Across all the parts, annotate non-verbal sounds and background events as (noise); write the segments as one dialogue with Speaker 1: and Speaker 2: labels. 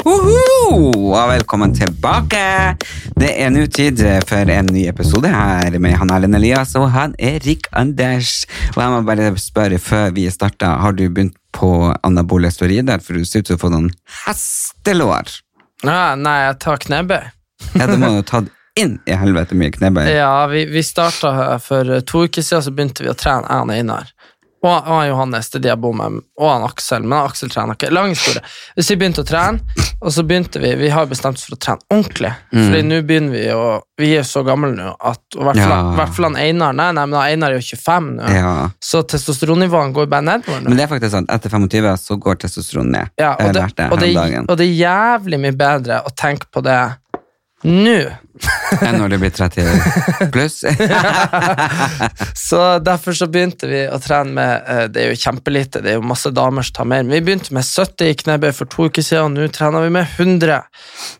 Speaker 1: Uhu! Og velkommen tilbake. Det er nå tid for en ny episode her med han Erlend Elias og han Erik Anders. Og jeg må bare spørre før vi starter, har du begynt på anabole steroider? For du ser ut til å få noen hestelår.
Speaker 2: Ah, nei, jeg tar knebøy.
Speaker 1: Ja, det må du ha tatt inn i helvete mye knebøy.
Speaker 2: Ja, vi, vi starta her for eh, to uker siden, så begynte vi å trene jeg og Einar. Og, og han Johannes, det er de jeg bor med, og han Aksel, men han Aksel trener ikke. Lang historie. Hvis vi begynte å trene, og så begynte vi Vi har bestemt oss for å trene ordentlig.
Speaker 1: Mm.
Speaker 2: Fordi nå begynner vi å Vi er så gamle nå at og i hvert fall
Speaker 1: Ja.
Speaker 2: i hvert fall han Einar Nei, nei, men han Einar er jo 25 nå.
Speaker 1: Ja.
Speaker 2: Så testosteronnivåene går bare nedover nå.
Speaker 1: Men det er faktisk sant, etter 25 så går testosteron ned.
Speaker 2: Ja,
Speaker 1: jeg
Speaker 2: og,
Speaker 1: har
Speaker 2: det,
Speaker 1: lært det
Speaker 2: og,
Speaker 1: her
Speaker 2: det,
Speaker 1: om dagen.
Speaker 2: og det er jævlig mye bedre å tenke på det nå
Speaker 1: enn når du blir 30 pluss.
Speaker 2: Så derfor så begynte vi å trene med eh, Det er jo kjempelite, det er jo masse damer som tar mer. Men vi begynte med 70 i knebøy for to uker siden, og nå trener vi med 100.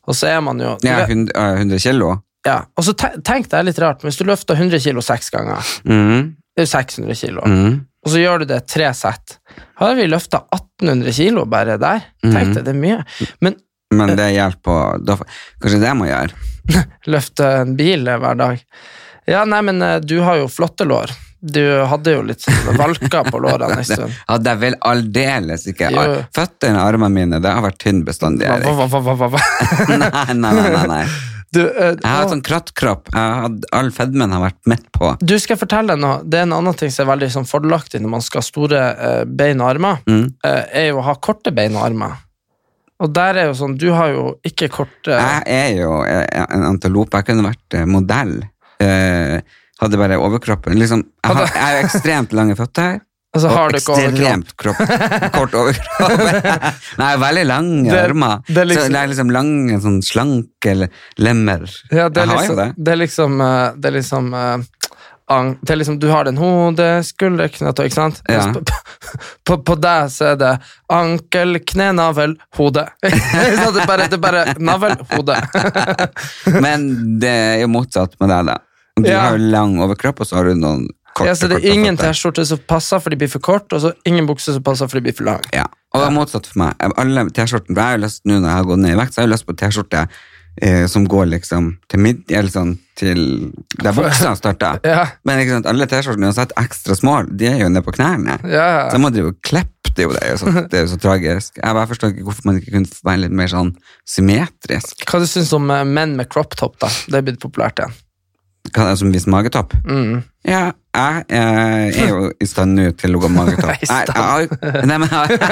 Speaker 2: Og så er man jo du
Speaker 1: Ja,
Speaker 2: vet-
Speaker 1: 100, øh, 100 kilo.
Speaker 2: ja. Og så te- tenk deg litt rart, men hvis du løfter 100 kilo seks ganger,
Speaker 1: Mm,
Speaker 2: det er jo 600 kilo,
Speaker 1: mm.
Speaker 2: og så gjør du det tre sett, har vi løfta 1800 kilo bare der.
Speaker 1: Mm.
Speaker 2: Tenk deg, det er mye. Men
Speaker 1: Men det hjelper på da, får- Kanskje det må jeg gjøre?
Speaker 2: løfte en bil hver dag. Ja, nei, men eh, du har jo flotte lår. Du hadde jo litt sånn valker på
Speaker 1: (laughs)
Speaker 2: lårene en stund.
Speaker 1: Ja, det vil aldeles ikke.
Speaker 2: Jo.
Speaker 1: Ar- Føttene og armene mine det har vært tynn bestandig.
Speaker 2: Hva,
Speaker 1: Erik.
Speaker 2: hva, hva, hva, hva, hva?
Speaker 1: (laughs) Nei, nei, nei. nei, nei.
Speaker 2: Du, eh,
Speaker 1: Jeg har
Speaker 2: nå-
Speaker 1: hatt sånn krattkropp. Jeg har hatt- All fedmen har vært midt på.
Speaker 2: Du skal jeg fortelle deg noe. Det er en annen ting som er veldig sånn, fordelaktig når man skal ha store eh, bein og armer,
Speaker 1: Mm.
Speaker 2: eh, er jo å ha korte bein og armer. Og der er jo sånn, du har jo ikke korte
Speaker 1: Jeg er jo eh, en antilope. Jeg kunne vært eh, modell. Eh, hadde bare overkroppen. Liksom, jeg har, jeg har ekstremt lange føtter.
Speaker 2: Altså har
Speaker 1: Og
Speaker 2: du ikke overkropp.
Speaker 1: ekstremt kropp. kort overkropp.
Speaker 2: (laughs)
Speaker 1: Nei, veldig lange
Speaker 2: Det-
Speaker 1: armer.
Speaker 2: det er liksom-
Speaker 1: så det er liksom lange, sånn slanke l- lemmer.
Speaker 2: Ja, det er
Speaker 1: jeg har jo
Speaker 2: liksom,
Speaker 1: det.
Speaker 2: det er liksom, eh, det er liksom eh, ang- det er liksom, Du har den hode, skulder, knetå, ikke sant?
Speaker 1: Ja.
Speaker 2: Mens På, på, på deg så er det ankel, kne, navel, hode. (laughs) så det er bare, det er bare navel, hode. (laughs)
Speaker 1: Men det er jo motsatt med deg, da. Du
Speaker 2: Ja.
Speaker 1: har jo lang overkropp, og så har du noen korte,
Speaker 2: ja, så det
Speaker 1: korte
Speaker 2: er ingen
Speaker 1: føtter.
Speaker 2: T-skjorte som passer, for de blir for kort, og så ingen bukse som passer, for de blir for lang.
Speaker 1: Ja, og det er motsatt for meg. Alle T-skjortene, for jeg har jo lyst nå når jeg har gått ned i vekt, så har jeg jo lyst på T-skjorte eh, som går liksom til midt, eller sånn til der buksa starter.
Speaker 2: (laughs) Ja.
Speaker 1: Men ikke sant, alle T-skjortene uansett ekstra små, de er jo nede på knærne.
Speaker 2: Ja.
Speaker 1: Så jeg må drive og kleppe det, er jo det er jo så, det er
Speaker 2: (laughs)
Speaker 1: jo så tragisk. Jeg bare forstår ikke hvorfor man ikke kunne være litt mer sånn symmetrisk,
Speaker 2: Hva du syns om eh, menn med crop top, da? Det er blitt populært igjen.
Speaker 1: Kan jeg som viser magetopp.
Speaker 2: Mm.
Speaker 1: Ja, jeg eh, er jo i stand nå til å gå
Speaker 2: (laughs)
Speaker 1: magetopp.
Speaker 2: I
Speaker 1: Jeg, jeg, har jo- (laughs) nei, men jeg, har-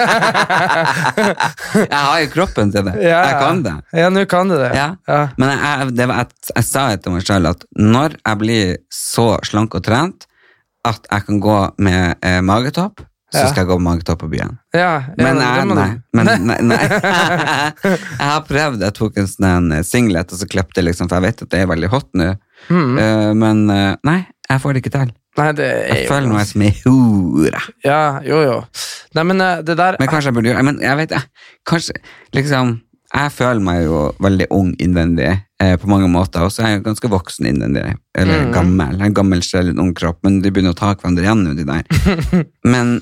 Speaker 1: jeg har jo kroppen til det.
Speaker 2: Ja.
Speaker 1: Jeg kan det.
Speaker 2: Ja, nå kan du det.
Speaker 1: Ja.
Speaker 2: Ja.
Speaker 1: Men jeg, jeg- det var, jeg, jeg sa jo til meg selv at når jeg blir så slank og trent at jeg kan gå med eh, magetopp, så
Speaker 2: Ja.
Speaker 1: skal jeg gå med magetopp på byen.
Speaker 2: Ja, ja,
Speaker 1: Men
Speaker 2: det
Speaker 1: jeg,
Speaker 2: må du-
Speaker 1: nei, men,
Speaker 2: (laughs)
Speaker 1: nei, nei. jeg har prøvd. Jeg tok en sånn en singlet, og så klippet jeg, liksom, for jeg vet at det er veldig hot nå.
Speaker 2: Mm.
Speaker 1: Eh, men eh, nei, jeg får det ikke til.
Speaker 2: Nei, det er
Speaker 1: Jeg
Speaker 2: jo
Speaker 1: føler meg som ei hore.
Speaker 2: Ja, jo, jo. Nei, men eh, det der
Speaker 1: Men kanskje jeg burde gjøre men jeg vet, jeg, kanskje, liksom, jeg føler meg jo veldig ung innvendig eh, på mange måter, og så er jeg ganske voksen innvendig, eller
Speaker 2: Mhm.
Speaker 1: gammel. Jeg er en gammel sjel, en ung kropp, men de begynner å ta hverandre igjen nå, de der.
Speaker 2: (laughs)
Speaker 1: Men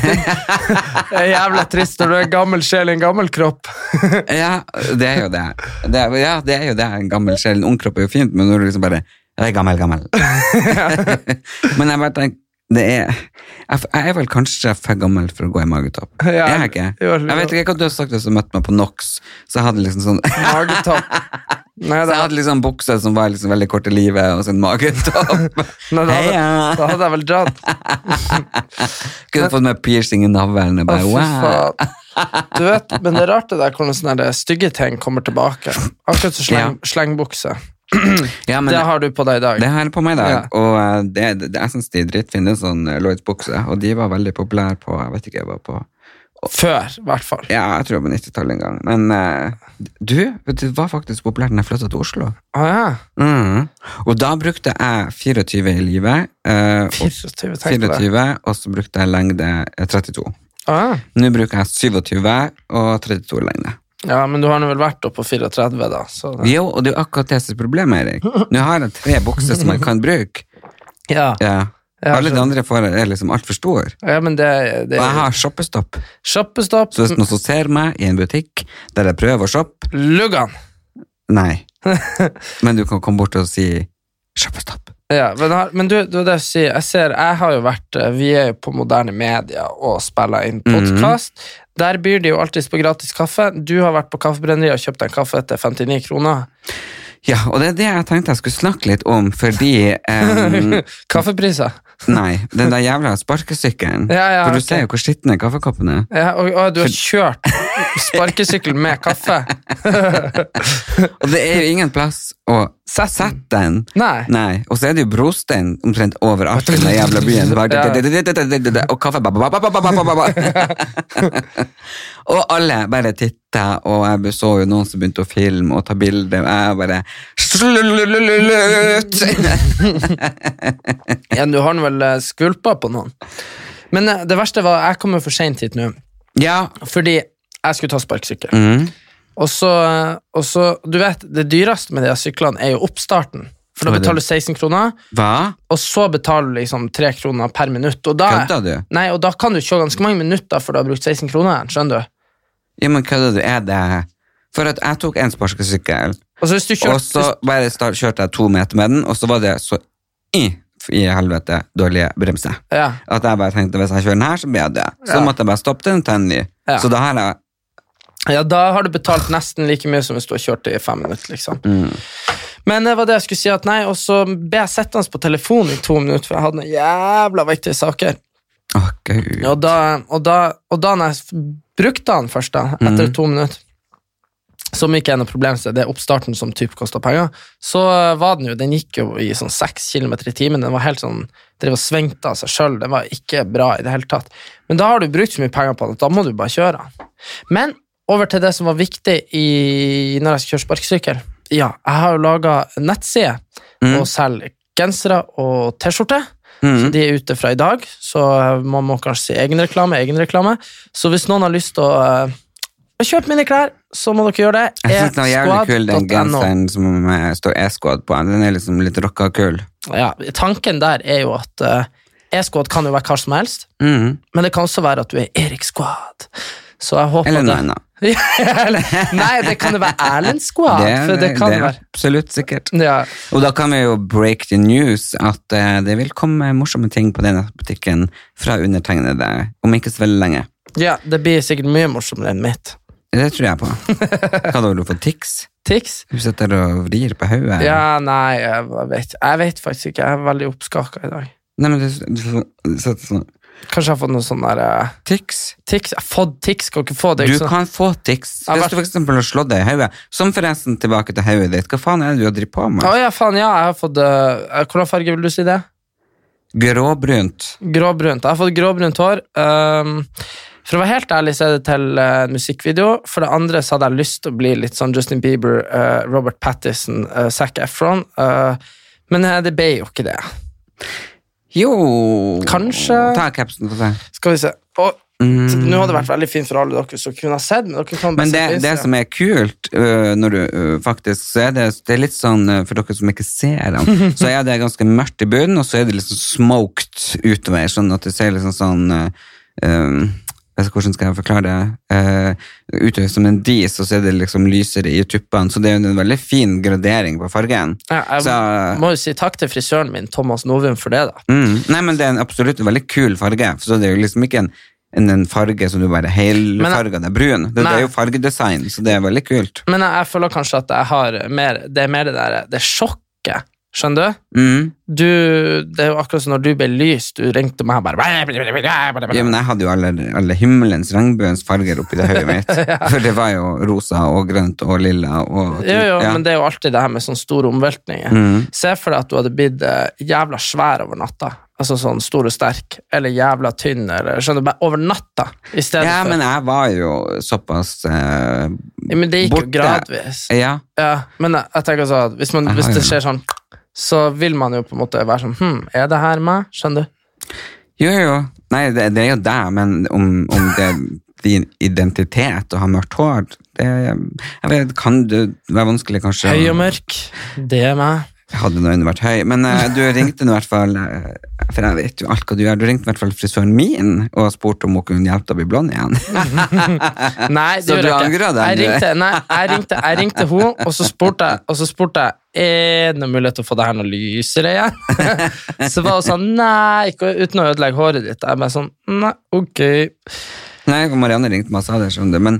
Speaker 2: er jævla trist når du er en gammel sjel i en gammel kropp.
Speaker 1: ja, det er jo det. det er, ja, det er jo det. En gammel sjel, en ung kropp er jo fint, men når du liksom bare Jeg er gammel,
Speaker 2: (laughs)
Speaker 1: gammel. men jeg bare tenker det er, jeg, f- jeg er vel kanskje for gammel for å gå i magetopp.
Speaker 2: Ja,
Speaker 1: er jeg ikke?
Speaker 2: jo, jo.
Speaker 1: Jeg vet ikke hva du har sagt hvis du møtte meg på NOX, så jeg hadde liksom sånn
Speaker 2: Magetopp. Nei,
Speaker 1: (laughs) Så
Speaker 2: da,
Speaker 1: jeg hadde liksom bukser som var liksom veldig korte livet, og så en magetopp.
Speaker 2: (laughs) nei, da, hadde,
Speaker 1: Heia.
Speaker 2: da hadde jeg vel dratt.
Speaker 1: Kunne fått meg piercing i navlen. og
Speaker 2: Å,
Speaker 1: Bare,
Speaker 2: fy
Speaker 1: wow.
Speaker 2: faen. Du vet, men det er rart det der hvordan sånne der stygge ting kommer tilbake. Akkurat som sleng, slengbukse.
Speaker 1: Ja, men
Speaker 2: Det har du på deg i dag.
Speaker 1: Det har jeg på meg i dag,
Speaker 2: Ja.
Speaker 1: og eh, det, det, det, jeg syns de er drittfine, sånn eh, Lloyds-bukser, og de var veldig populære på Jeg vet ikke, jeg var på
Speaker 2: Før, i hvert fall.
Speaker 1: Ja, jeg tror jeg var på 90-tallet en gang. Men eh, du, vet du, det var faktisk populært når jeg flytta til Oslo.
Speaker 2: Å ja.
Speaker 1: Mhm. Og da brukte jeg 24 i livet. eh, og-
Speaker 2: 24, tenk på det.
Speaker 1: 24, og så brukte jeg lengde eh, 32.
Speaker 2: Å ja.
Speaker 1: Nå bruker jeg 27 og 32 lengde.
Speaker 2: ja, men du har nå vel vært oppe på 34, da. Så det.
Speaker 1: Jo, og det er jo akkurat det som er problemet, Erik. Nå har jeg tre bukser som jeg kan bruke.
Speaker 2: Ja.
Speaker 1: Ja.
Speaker 2: Ja,
Speaker 1: Alle de
Speaker 2: skjønner.
Speaker 1: andre får, er liksom altfor store.
Speaker 2: ja, men det, det
Speaker 1: Og jeg har shoppestopp.
Speaker 2: Shoppestopp.
Speaker 1: Så hvis noen som ser meg i en butikk der jeg prøver å shoppe
Speaker 2: Luggan. (laughs)
Speaker 1: Nei. Men du kan komme bort og si 'shoppestopp'.
Speaker 2: Ja, men, har- men du, du det jeg, sier, jeg ser, jeg har jo vært eh, Vi er jo på moderne media og spiller inn
Speaker 1: Mhm.
Speaker 2: podkast. Der byr de jo alltids på gratis kaffe. Du har vært på Kaffebrenneriet og kjøpt en kaffe til 59 kroner.
Speaker 1: Ja, og det er det jeg tenkte jeg skulle snakke litt om, fordi
Speaker 2: (laughs)
Speaker 1: em,
Speaker 2: Kaffepriser.
Speaker 1: Nei, den der jævla sparkesykkelen.
Speaker 2: Ja, ja,
Speaker 1: For du
Speaker 2: ok.
Speaker 1: ser jo hvor skitne kaffekoppene er.
Speaker 2: Ja, og, og du har kjørt sparkesykkel med kaffe.
Speaker 1: (laughs) Og det er jo ingen plass å sette den.
Speaker 2: Nei.
Speaker 1: Nei, Og så er det jo brostein omtrent overalt i den jævla
Speaker 2: (laughs)
Speaker 1: byen. Bare- Og kaffe ba, ba, ba, ba, ba, ba, ba, ba. Og alle bare titta, og jeg så jo noen som begynte å filme og ta bilder, og jeg bare Slutt! (laughs)
Speaker 2: Ja, du har den vel eh, skvulpa på noen. Men eh, det verste var jeg kom jo for seint hit nå,
Speaker 1: Ja.
Speaker 2: fordi jeg skulle ta sparkesykkel.
Speaker 1: Mm.
Speaker 2: Og så, eh, og så, du vet, Det dyreste med de her syklene er jo oppstarten. For da
Speaker 1: Hva er det?
Speaker 2: betaler du 16 kroner,
Speaker 1: Hva?
Speaker 2: og så betaler du liksom 3 kroner per minutt. Og da,
Speaker 1: Kødder du?
Speaker 2: Nei, og da kan du kjøre ganske mange minutter før du har brukt 16 kroner. skjønner du?
Speaker 1: Ja, men kødder du? Er det For at jeg tok en sparkesykkel.
Speaker 2: Og så Altså, hvis du kjører,
Speaker 1: Og så bare start, kjørte jeg to meter med den, og så var det så i, i helvete dårlige bremser.
Speaker 2: ja,
Speaker 1: At jeg bare tenkte hvis jeg kjører den her, så blir jeg død. Så
Speaker 2: Ja.
Speaker 1: måtte jeg bare stoppe den og ta en ny.
Speaker 2: Ja.
Speaker 1: Så da har jeg
Speaker 2: ja, da har du betalt nesten like mye som hvis du har kjørt i fem minutter. liksom. Men eh, det var det jeg skulle si, at nei, og så ble jeg sittende på telefonen i to minutter, for jeg hadde noen jævla viktige saker.
Speaker 1: Å, gud.
Speaker 2: Og da, og da, og da når jeg f- brukte han først, da, etter to minutter som ikke er noe problem, så det er oppstarten som typ koster penger, så var den jo, den gikk jo i sånn 6 km i timen, den var helt sånn, drev og svengte av seg selv, den var ikke bra i det hele tatt. Men da har du brukt så mye penger på den, at da må du bare kjøre den. Men over til det som var viktig i, når jeg skal kjøre sparkesykkel. Ja, jeg har jo laget nettside og selger gensere og t-skjorte, så de er ute fra i dag, så man må kanskje si egenreklame, egenreklame. Så hvis noen har lyst til å... eh, Kjøp mine klær, så må dere gjøre det.
Speaker 1: Jeg synes den var jævlig kul, den
Speaker 2: E-squad.no.
Speaker 1: genseren som eh, står E-squad på. Den er liksom litt rocka og kul.
Speaker 2: Ja, tanken der er jo at eh, E-squad kan jo være hva som helst,
Speaker 1: Mhm.
Speaker 2: men det kan også være at du er Erik Squad. Så jeg håper
Speaker 1: Eller
Speaker 2: det-
Speaker 1: noe
Speaker 2: (laughs)
Speaker 1: annet.
Speaker 2: Eller- Nei, det kan jo være Erlend
Speaker 1: (laughs)
Speaker 2: Squad.
Speaker 1: Det er,
Speaker 2: for det kan
Speaker 1: det er
Speaker 2: være.
Speaker 1: absolutt sikkert.
Speaker 2: Ja.
Speaker 1: Og da kan vi jo break the news at eh, det vil komme morsomme ting på denne butikken fra undertegnede om ikke så veldig lenge.
Speaker 2: ja, det blir sikkert mye morsommere enn mitt.
Speaker 1: Det tror
Speaker 2: (laughs)
Speaker 1: jeg på. Hva da, vil du få tics?
Speaker 2: Tix?
Speaker 1: Du sitter og vrir på hodet.
Speaker 2: Ja, nei, jeg vet, jeg vet faktisk ikke. Jeg er veldig oppskaka i dag.
Speaker 1: Nei, men du, du, du sitter sånn
Speaker 2: Kanskje jeg har fått noe sånn der eh,
Speaker 1: Tics.
Speaker 2: Tix? Jeg har fått tics, kan ikke få det.
Speaker 1: Du
Speaker 2: ikke sant?
Speaker 1: kan få tics
Speaker 2: Ja,
Speaker 1: hvis
Speaker 2: vær-
Speaker 1: du for eksempel har slått deg i hodet. Som forresten tilbake til hodet ditt. Hva faen er det du har drivet på med?
Speaker 2: Å ja, faen, ja, jeg har fått eh, Hvilken farge vil du si det?
Speaker 1: Gråbrunt.
Speaker 2: Gråbrunt. Jeg har fått gråbrunt hår. Ehm, for å være helt ærlig så er det til eh, en musikkvideo. For det andre så hadde jeg lyst til å bli litt sånn Justin Bieber, eh, Robert Pattison, uh, Zac Efron. eh, men eh, det ble jo ikke det.
Speaker 1: Jo
Speaker 2: Kanskje-
Speaker 1: Ta capsen på deg.
Speaker 2: Skal vi se. Å, så Nå hadde det vært veldig fint for alle dere som kunne ha sett, men dere kan bare
Speaker 1: Mm. Men
Speaker 2: se
Speaker 1: det,
Speaker 2: på
Speaker 1: det
Speaker 2: Instagram.
Speaker 1: som er kult, øh, når du øh, faktisk så er det, det er litt sånn øh, For dere som ikke ser
Speaker 2: (laughs)
Speaker 1: den, så er det ganske mørkt i bunnen, og så er det liksom smoked utover, sånn at det ser liksom sånn øh, øh, jeg vet ikke Hvordan skal jeg forklare det? Eh, utover som en dis, og så er det liksom lysere i tuppene. Så det er jo en veldig fin gradering på fargen.
Speaker 2: Ja, jeg
Speaker 1: så-
Speaker 2: må jo si takk til frisøren min, Thomas Novum, for det, da.
Speaker 1: Mm. Nei, men det er en absolutt veldig kul farge, så det er jo liksom ikke en enn en farge som du bare helfarga deg brun. Det, det
Speaker 2: Nei.
Speaker 1: er jo fargedesign, så det er veldig kult.
Speaker 2: Men jeg, jeg føler kanskje at jeg har mer, det er mer det der Det sjokket. Skjønner du?
Speaker 1: Mm.
Speaker 2: du? Det er jo akkurat som når du ble lys. Du ringte meg bare
Speaker 1: Ja, men jeg hadde jo alle, alle himmelens regnbuens farger oppi det høyet
Speaker 2: (laughs)
Speaker 1: mitt. For det var jo rosa og grønt og lilla og
Speaker 2: Jo, jo,
Speaker 1: ja. Mm.
Speaker 2: men det er jo alltid det her med sånne store omveltninger. Se for deg at du hadde blitt eh, jævla svær over natta. Altså sånn stor og sterk, eller jævla tynn, eller skjønner du, bare over natta. I stedet
Speaker 1: ja,
Speaker 2: for
Speaker 1: men jeg var jo såpass eh,
Speaker 2: ja, men det gikk
Speaker 1: borte.
Speaker 2: jo gradvis.
Speaker 1: Ja.
Speaker 2: Ja, men jeg, jeg tenker sånn at hvis, man,
Speaker 1: Jeg
Speaker 2: hvis
Speaker 1: har
Speaker 2: det
Speaker 1: jo-
Speaker 2: skjer sånn, så vil man jo på en måte være sånn Hm, er det her meg? Skjønner du?
Speaker 1: Jo, jo. Nei, det, det er jo deg, men om, om det er din identitet å ha mørkt hår det, jeg vet, Kan det være vanskelig, kanskje?
Speaker 2: Høy og mørk, det er meg.
Speaker 1: Hadde nå enn vært høy. Men eh, du ringte nå i hvert fall eh, For jeg vet jo alt hva du gjør. Du ringte i hvert fall frisøren min og spurte om hun kunne hjelpe deg å bli blond igjen.
Speaker 2: Nei, det
Speaker 1: Så
Speaker 2: gjorde
Speaker 1: du
Speaker 2: jeg ikke.
Speaker 1: angrer deg,
Speaker 2: Jeg
Speaker 1: du?
Speaker 2: ringte, nei, jeg ringte, jeg ringte hun, og så spurte jeg, og så spurte jeg er det noen mulighet til å få det her noe lysere igjen? (laughs) så var hun sånn nei, ikke uten å ødelegge håret ditt. Jeg bare sånn nei, ok.
Speaker 1: Nei, Marianne ringte meg og sa det, skjønner du. Men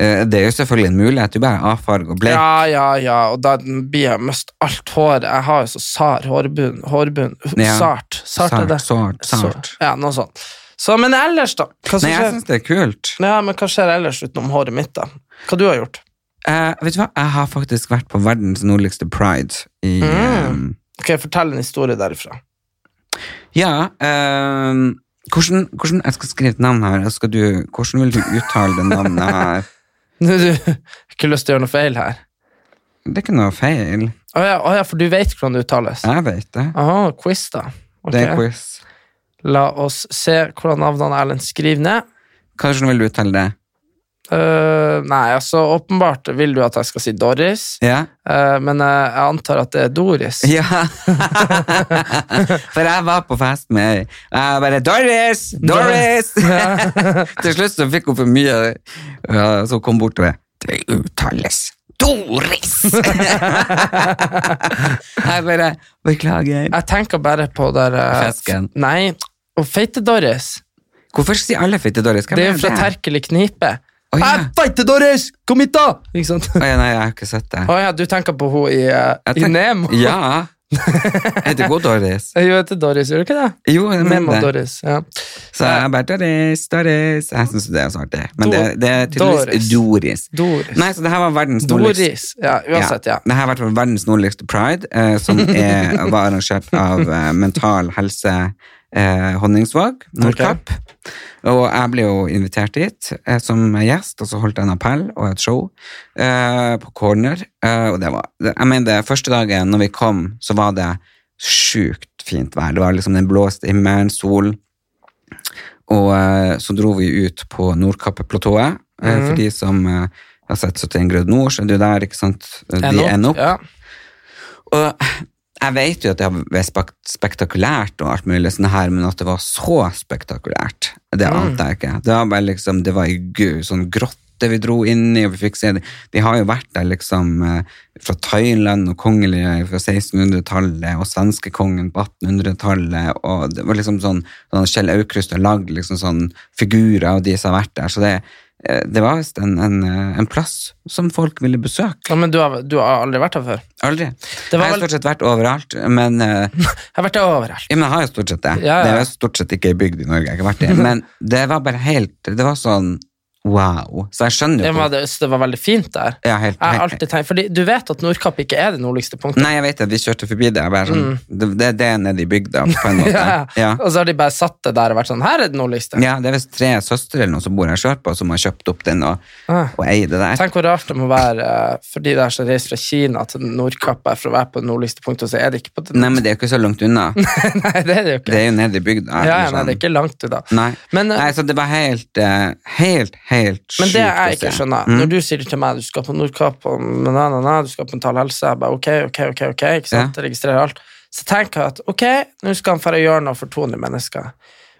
Speaker 1: eh, det er jo selvfølgelig en mulighet. Du bare avfarger og blek.
Speaker 2: Ja, ja, ja. Og da blir jeg mist alt håret. Jeg har jo så sar hårbunn. hårbunn.
Speaker 1: Ja.
Speaker 2: Sart. Sart er det.
Speaker 1: Sart, sart, sart.
Speaker 2: Ja, noe sånt. Så, men ellers, da? Hva, som
Speaker 1: Nei, jeg
Speaker 2: skjer?
Speaker 1: syns det er kult.
Speaker 2: Ja, men hva skjer ellers utenom håret mitt, da? Hva du har gjort?
Speaker 1: Eh, vet du hva, jeg har faktisk vært på verdens nordligste pride i
Speaker 2: Mm. Ok, Fortell en historie derifra.
Speaker 1: eh, Ja. eh, hvordan, hvordan Jeg skal skrive et navn her. og Skal du, hvordan vil du uttale det navnet her?
Speaker 2: (laughs) Du du har ikke lyst til å gjøre noe feil her.
Speaker 1: Det er ikke noe feil.
Speaker 2: Å ja, å ja, for du vet hvordan det uttales.
Speaker 1: Jeg vet
Speaker 2: (laughs)
Speaker 1: det.
Speaker 2: Aha, quiz, da. Ah, Ok.
Speaker 1: Det er quiz.
Speaker 2: La oss se hvordan navnene Erlend skriver ned.
Speaker 1: Hvordan vil du uttale det?
Speaker 2: Eh, nei, altså åpenbart vil du at jeg skal si Doris,
Speaker 1: Ja?
Speaker 2: eh, men eh, jeg antar at det er Doris.
Speaker 1: (laughs) Ja. For jeg var på fest med ei, og jeg bare 'Doris! Doris!' (laughs) Til slutt så fikk hun for mye, ja, så hun kom bort og bare 'Det uttales Doris!' (laughs) jeg bare 'Beklager'.
Speaker 2: Jeg tenker bare på der eh,
Speaker 1: Fesken.
Speaker 2: Nei, og feite-Doris.
Speaker 1: Hvorfor sier alle fitte Doris? Hvem
Speaker 2: Det er jo fra Terkel i Knipe.
Speaker 1: Å, ja.
Speaker 2: Hei, feite-Doris! Kom hit, da! Ikke
Speaker 1: (laughs)
Speaker 2: sant?
Speaker 1: Å, ja, nei, jeg har ikke sett det.
Speaker 2: Å ja, du tenker på hun i, eh,
Speaker 1: Jeg
Speaker 2: i
Speaker 1: tenk-
Speaker 2: Nemo?
Speaker 1: Ja. Er det god Doris?
Speaker 2: Hun heter Doris, gjør du ikke det?
Speaker 1: Jo, jeg
Speaker 2: Nemo
Speaker 1: mener det.
Speaker 2: Doris, ja.
Speaker 1: Så jeg bare Doris, Doris Jeg syns det er så artig. Men det, det er
Speaker 2: Doris.
Speaker 1: tydeligvis Doris.
Speaker 2: Doris.
Speaker 1: Nei, så det her var verdens nordligste
Speaker 2: Doris. Ja, uansett, ja.
Speaker 1: Det her har vært verdens nordligste pride, eh,
Speaker 2: (laughs)
Speaker 1: som er, var arrangert av eh, Mental Helse eh, Honningsvåg, Nordkapp. Og jeg ble jo invitert dit eh, som gjest, og så holdt jeg en appell og et show eh, på Corner. Eh, og det var, det- jeg mener, det første dagen når vi kom, så var det sjukt fint vær. Det var liksom den blåste himmelen, sol. Og eh, så dro vi ut på Nordkappeplatået. Eh, For de som eh, har sett 71 grader nord, så er det jo der, ikke sant? Eh, De ender opp.
Speaker 2: Ja.
Speaker 1: Og jeg vet jo at det var spek- spektakulært og alt mulig sånn her, men at det var så spektakulært, det ante jeg ikke. Det var bare liksom, det var i gu- sånn grotte vi dro inn i, og vi fikk se det. De har jo vært der liksom eh, fra Thailand og kongelige fra 1600-tallet, og svenskekongen på 1800-tallet, og det var liksom sånn, sånn Kjell Aukrust har lagd liksom sånn figurer av de som har vært der, så det, eh, det var visst en, en, eh, en plass som folk ville besøke.
Speaker 2: ja, men du har, du har aldri vært her før?
Speaker 1: Aldri.
Speaker 2: Det
Speaker 1: Jeg
Speaker 2: var
Speaker 1: har
Speaker 2: vel-
Speaker 1: stort sett vært overalt, men, eh,
Speaker 2: Jeg har vært her overalt.
Speaker 1: ja, men jeg har jo stort sett det.
Speaker 2: Ja, ja.
Speaker 1: Det er jo stort sett ikke ei bygd i Norge jeg ikke har vært i, men det var bare helt Det var sånn wow. Så jeg skjønner
Speaker 2: Det
Speaker 1: jo
Speaker 2: var,
Speaker 1: ikke-
Speaker 2: det, så det var veldig fint der.
Speaker 1: Ja, helt,
Speaker 2: Jeg har
Speaker 1: helt,
Speaker 2: alltid tenkt, fordi Du vet at Nordkapp ikke er det nordligste punktet.
Speaker 1: Nei, jeg vet at vi kjørte forbi det. Jeg bare sånn, det, det, det er nede i bygda, på en
Speaker 2: Mm. (laughs) Ja.
Speaker 1: måte. Mm, Ja.
Speaker 2: Og så har de bare satt det der og vært sånn Her er det nordligste.
Speaker 1: ja, Det er visst tre søstre eller noe som bor her sørpå, som har kjøpt opp den og,
Speaker 2: Ah.
Speaker 1: og eier det der.
Speaker 2: Tenk hvor rart det må være eh, for de der som reiser fra Kina til Nordkapp bare for å være på det nordligste punktet, og så er det ikke på det
Speaker 1: Nei, men det er jo ikke så langt unna.
Speaker 2: (laughs) Nei, det er det jo ikke.
Speaker 1: Det er jo nede i bygda.
Speaker 2: ja, ja,
Speaker 1: eller
Speaker 2: nei, det er
Speaker 1: sånn.
Speaker 2: ikke langt unna.
Speaker 1: Nei.
Speaker 2: Men, eh,
Speaker 1: Nei, så det var helt, eh, helt, helt sjukt
Speaker 2: Men det jeg
Speaker 1: å se. Mm.
Speaker 2: ikke skjønner, når du sier til meg du skal på Nordkapp, og na, na, na, du skal på Mental Helse, jeg bare ok, ok, ok, ok, ikke sant? jeg registrerer alt, så tenker jeg at ok, nå skal han færre gjøre noe for 200 mennesker.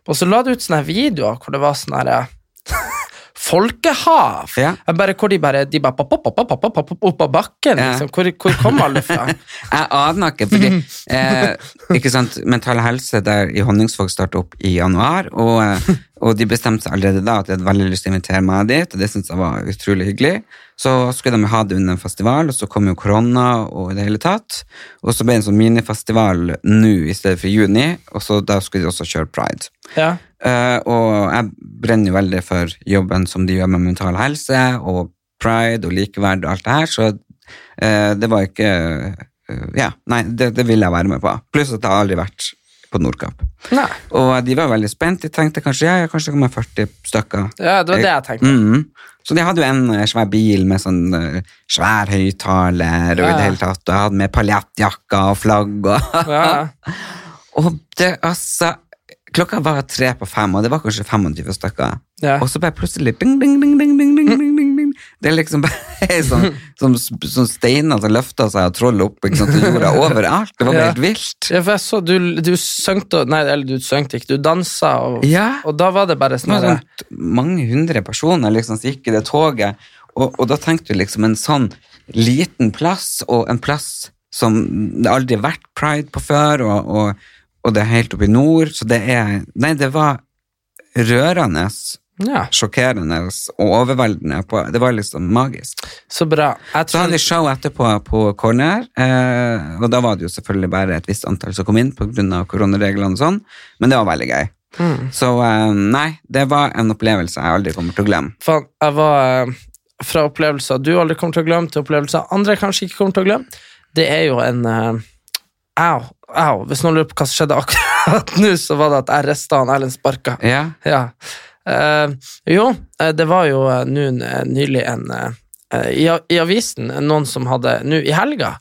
Speaker 2: Og så la du ut sånne her videoer hvor det var sånn her (laughs) folkehav,
Speaker 1: Ja.
Speaker 2: Jeg bare, hvor de bare, de bare pop, pop, pop, pop, pop, pop, pop, opp av bakken,
Speaker 1: Ja.
Speaker 2: liksom. hvor, hvor kom alle
Speaker 1: (laughs)
Speaker 2: fra?
Speaker 1: Jeg aner ikke, fordi eh, ikke sant, Mental Helse der i Honningsvåg starter opp i januar, og, eh, Og de bestemte seg allerede da at de hadde veldig lyst til å invitere meg dit, og det syntes jeg var utrolig hyggelig. Så skulle de ha det under en festival, og så kom jo korona og i det hele tatt. Og så ble det en sånn minifestival nå i stedet for juni, og så da skulle de også kjøre pride.
Speaker 2: Ja.
Speaker 1: Eh, og jeg brenner jo veldig for jobben som de gjør med mental helse og pride og likeverd og alt det her, så eh, det var ikke eh, Ja, nei, det, det ville jeg være med på. Pluss at jeg har aldri vært på Nordkapp.
Speaker 2: Nei.
Speaker 1: Og de var veldig spent. De tenkte kanskje ja, ja, kanskje det kommer 40 stykker.
Speaker 2: Ja, det var det jeg tenkte.
Speaker 1: Mhm. Så de hadde jo en eh, svær bil med sånn eh, svær høyttaler og i
Speaker 2: Ja.
Speaker 1: det hele tatt, og jeg hadde med paljettjakker og flagg og (laughs)
Speaker 2: Ja, ja.
Speaker 1: og det, altså, klokka var tre på fem, og det var kanskje 25 stykker.
Speaker 2: Ja.
Speaker 1: Og så bare plutselig ding, ding, ding, ding, ding, ding, ding, ding, ding. Det er liksom bare (laughs) sånn, som, som steiner som løfter seg og troller opp ikke sant, til jorda overalt. Det var bare
Speaker 2: Ja.
Speaker 1: helt vilt.
Speaker 2: Ja, for jeg så du, du søngte, og- nei, eller du søngte ikke, du dansa, og,
Speaker 1: Ja.
Speaker 2: og da var det bare
Speaker 1: Det
Speaker 2: sånn
Speaker 1: var
Speaker 2: her,
Speaker 1: sånn t- mange hundre personer liksom, som gikk i det toget, og, og da tenkte du liksom en sånn liten plass, og en plass som det aldri har vært pride på før, og, og, og det er helt oppe i nord, så det er Nei, det var rørende,
Speaker 2: ja,
Speaker 1: sjokkerende og overveldende. På, det var liksom magisk.
Speaker 2: så bra. Jeg
Speaker 1: Så hadde
Speaker 2: tror,
Speaker 1: vi show etterpå på Corner, eh, og da var det jo selvfølgelig bare et visst antall som kom inn pga. koronareglene og sånn, men det var veldig gøy.
Speaker 2: Mm.
Speaker 1: Så eh, nei, det var en opplevelse jeg aldri kommer til å glemme.
Speaker 2: faen, jeg var eh, fra opplevelser du aldri kommer til å glemme, til opplevelser andre kanskje ikke kommer til å glemme, det er jo en, eh, au, au, hvis noen lurer på hva som skjedde akkurat (laughs) nå, så var det at jeg restet han Erlend Sparka.
Speaker 1: Ja,
Speaker 2: Ja. Eh, jo, eh, det var jo eh, nå n- eh, nylig en eh, eh, i, a- I avisen eh, noen som hadde nå i helga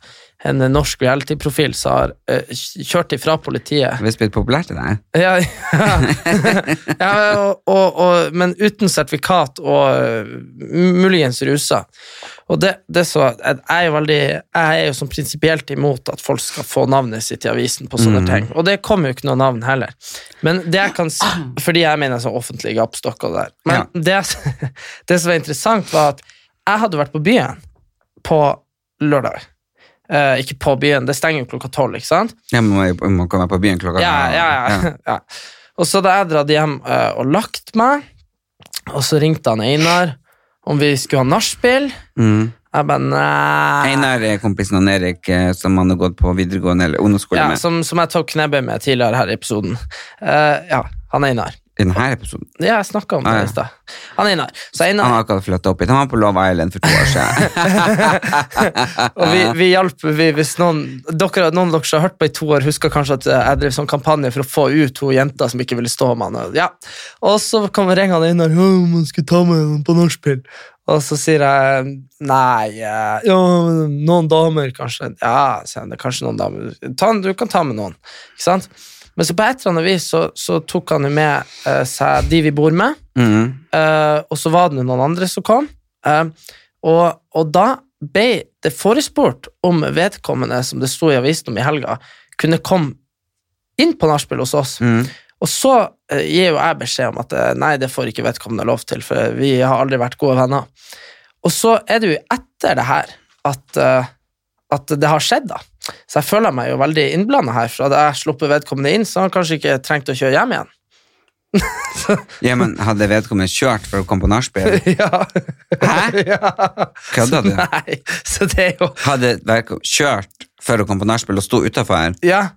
Speaker 2: en eh, norsk reality-profil som har eh, kj- kjørt ifra politiet.
Speaker 1: Hvis det blir populært i deg.
Speaker 2: Ja, (laughs) ja. ja og, og, og, men uten sertifikat og eh, muligens rusa. Og det, det så, jeg, er jo veldig, jeg er jo sånn prinsipielt imot at folk skal få navnet sitt i avisen på sånne ting. Og det kommer jo ikke noe navn heller. Men det jeg kan, s- fordi jeg mener sånn offentlige gapestokker der. Men det, (laughs) jeg s- det som var interessant, var at jeg hadde vært på byen på lørdag. Eh, ikke på byen, det stenger jo klokka tolv, ikke sant?
Speaker 1: Jeg må, jeg må komme på byen klokka
Speaker 2: Ja, ja, ja. (laughs) ja. Og så da jeg dratt hjem eh, og lagt meg, og så ringte han Einar om vi skulle ha nachspiel.
Speaker 1: Mm.
Speaker 2: Jeg bare nei.
Speaker 1: Einar er kompisen han Erik eh, som han har gått på videregående eller ungdomsskole
Speaker 2: Ja,
Speaker 1: med
Speaker 2: som, som jeg tok knebbet med tidligere her i episoden. Eh, ja, han Einar.
Speaker 1: i denne episoden.
Speaker 2: Ja, jeg snakka om det
Speaker 1: Ah, ja.
Speaker 2: i stad. Han Einar. Så
Speaker 1: Han
Speaker 2: Einar
Speaker 1: har akkurat flyttet opp hit. Han var på Love Island for to år siden.
Speaker 2: (laughs) og vi, vi hjalp vi, hvis noen dere, noen av dere som har hørt på i to år, husker kanskje at eh, jeg drev sånn kampanje for å få ut to jenter som ikke ville stå med han. og- Ja. Og så kom ringene inn og «Ja, man skulle ta med noen på nachspiel. Og så sier jeg nei eh, ja, men Noen damer, kanskje. Ja, sier han, det er kanskje noen damer. Ta, du kan ta med noen. Ikke sant? Men så på et eller annet vis så, så tok han jo med eh, seg de vi bor med.
Speaker 1: Mhm.
Speaker 2: Eh, og så var det noen andre som kom. Eh, og, og da ble det forespurt om vedkommende, som det sto i avisen om i helga, kunne komme inn på nachspiel hos oss.
Speaker 1: Mhm.
Speaker 2: Og så eh, gir jo jeg beskjed om at eh, nei, det får ikke vedkommende lov til, for vi har aldri vært gode venner. Og så er det jo etter det her at, eh, at det har skjedd, da. Så jeg føler meg jo veldig innblanda her, for hadde jeg sluppet vedkommende inn, så hadde han kanskje ikke trengt å kjøre hjem igjen.
Speaker 1: Ja, men hadde vedkommende kjørt for å komme på nachspiel?
Speaker 2: (laughs) ja. (laughs)
Speaker 1: Hæ?
Speaker 2: ja.
Speaker 1: Kødda du?
Speaker 2: Nei, så det er jo
Speaker 1: Hadde vedkommende kjørt for å komme på nachspiel og sto utafor?
Speaker 2: Ja.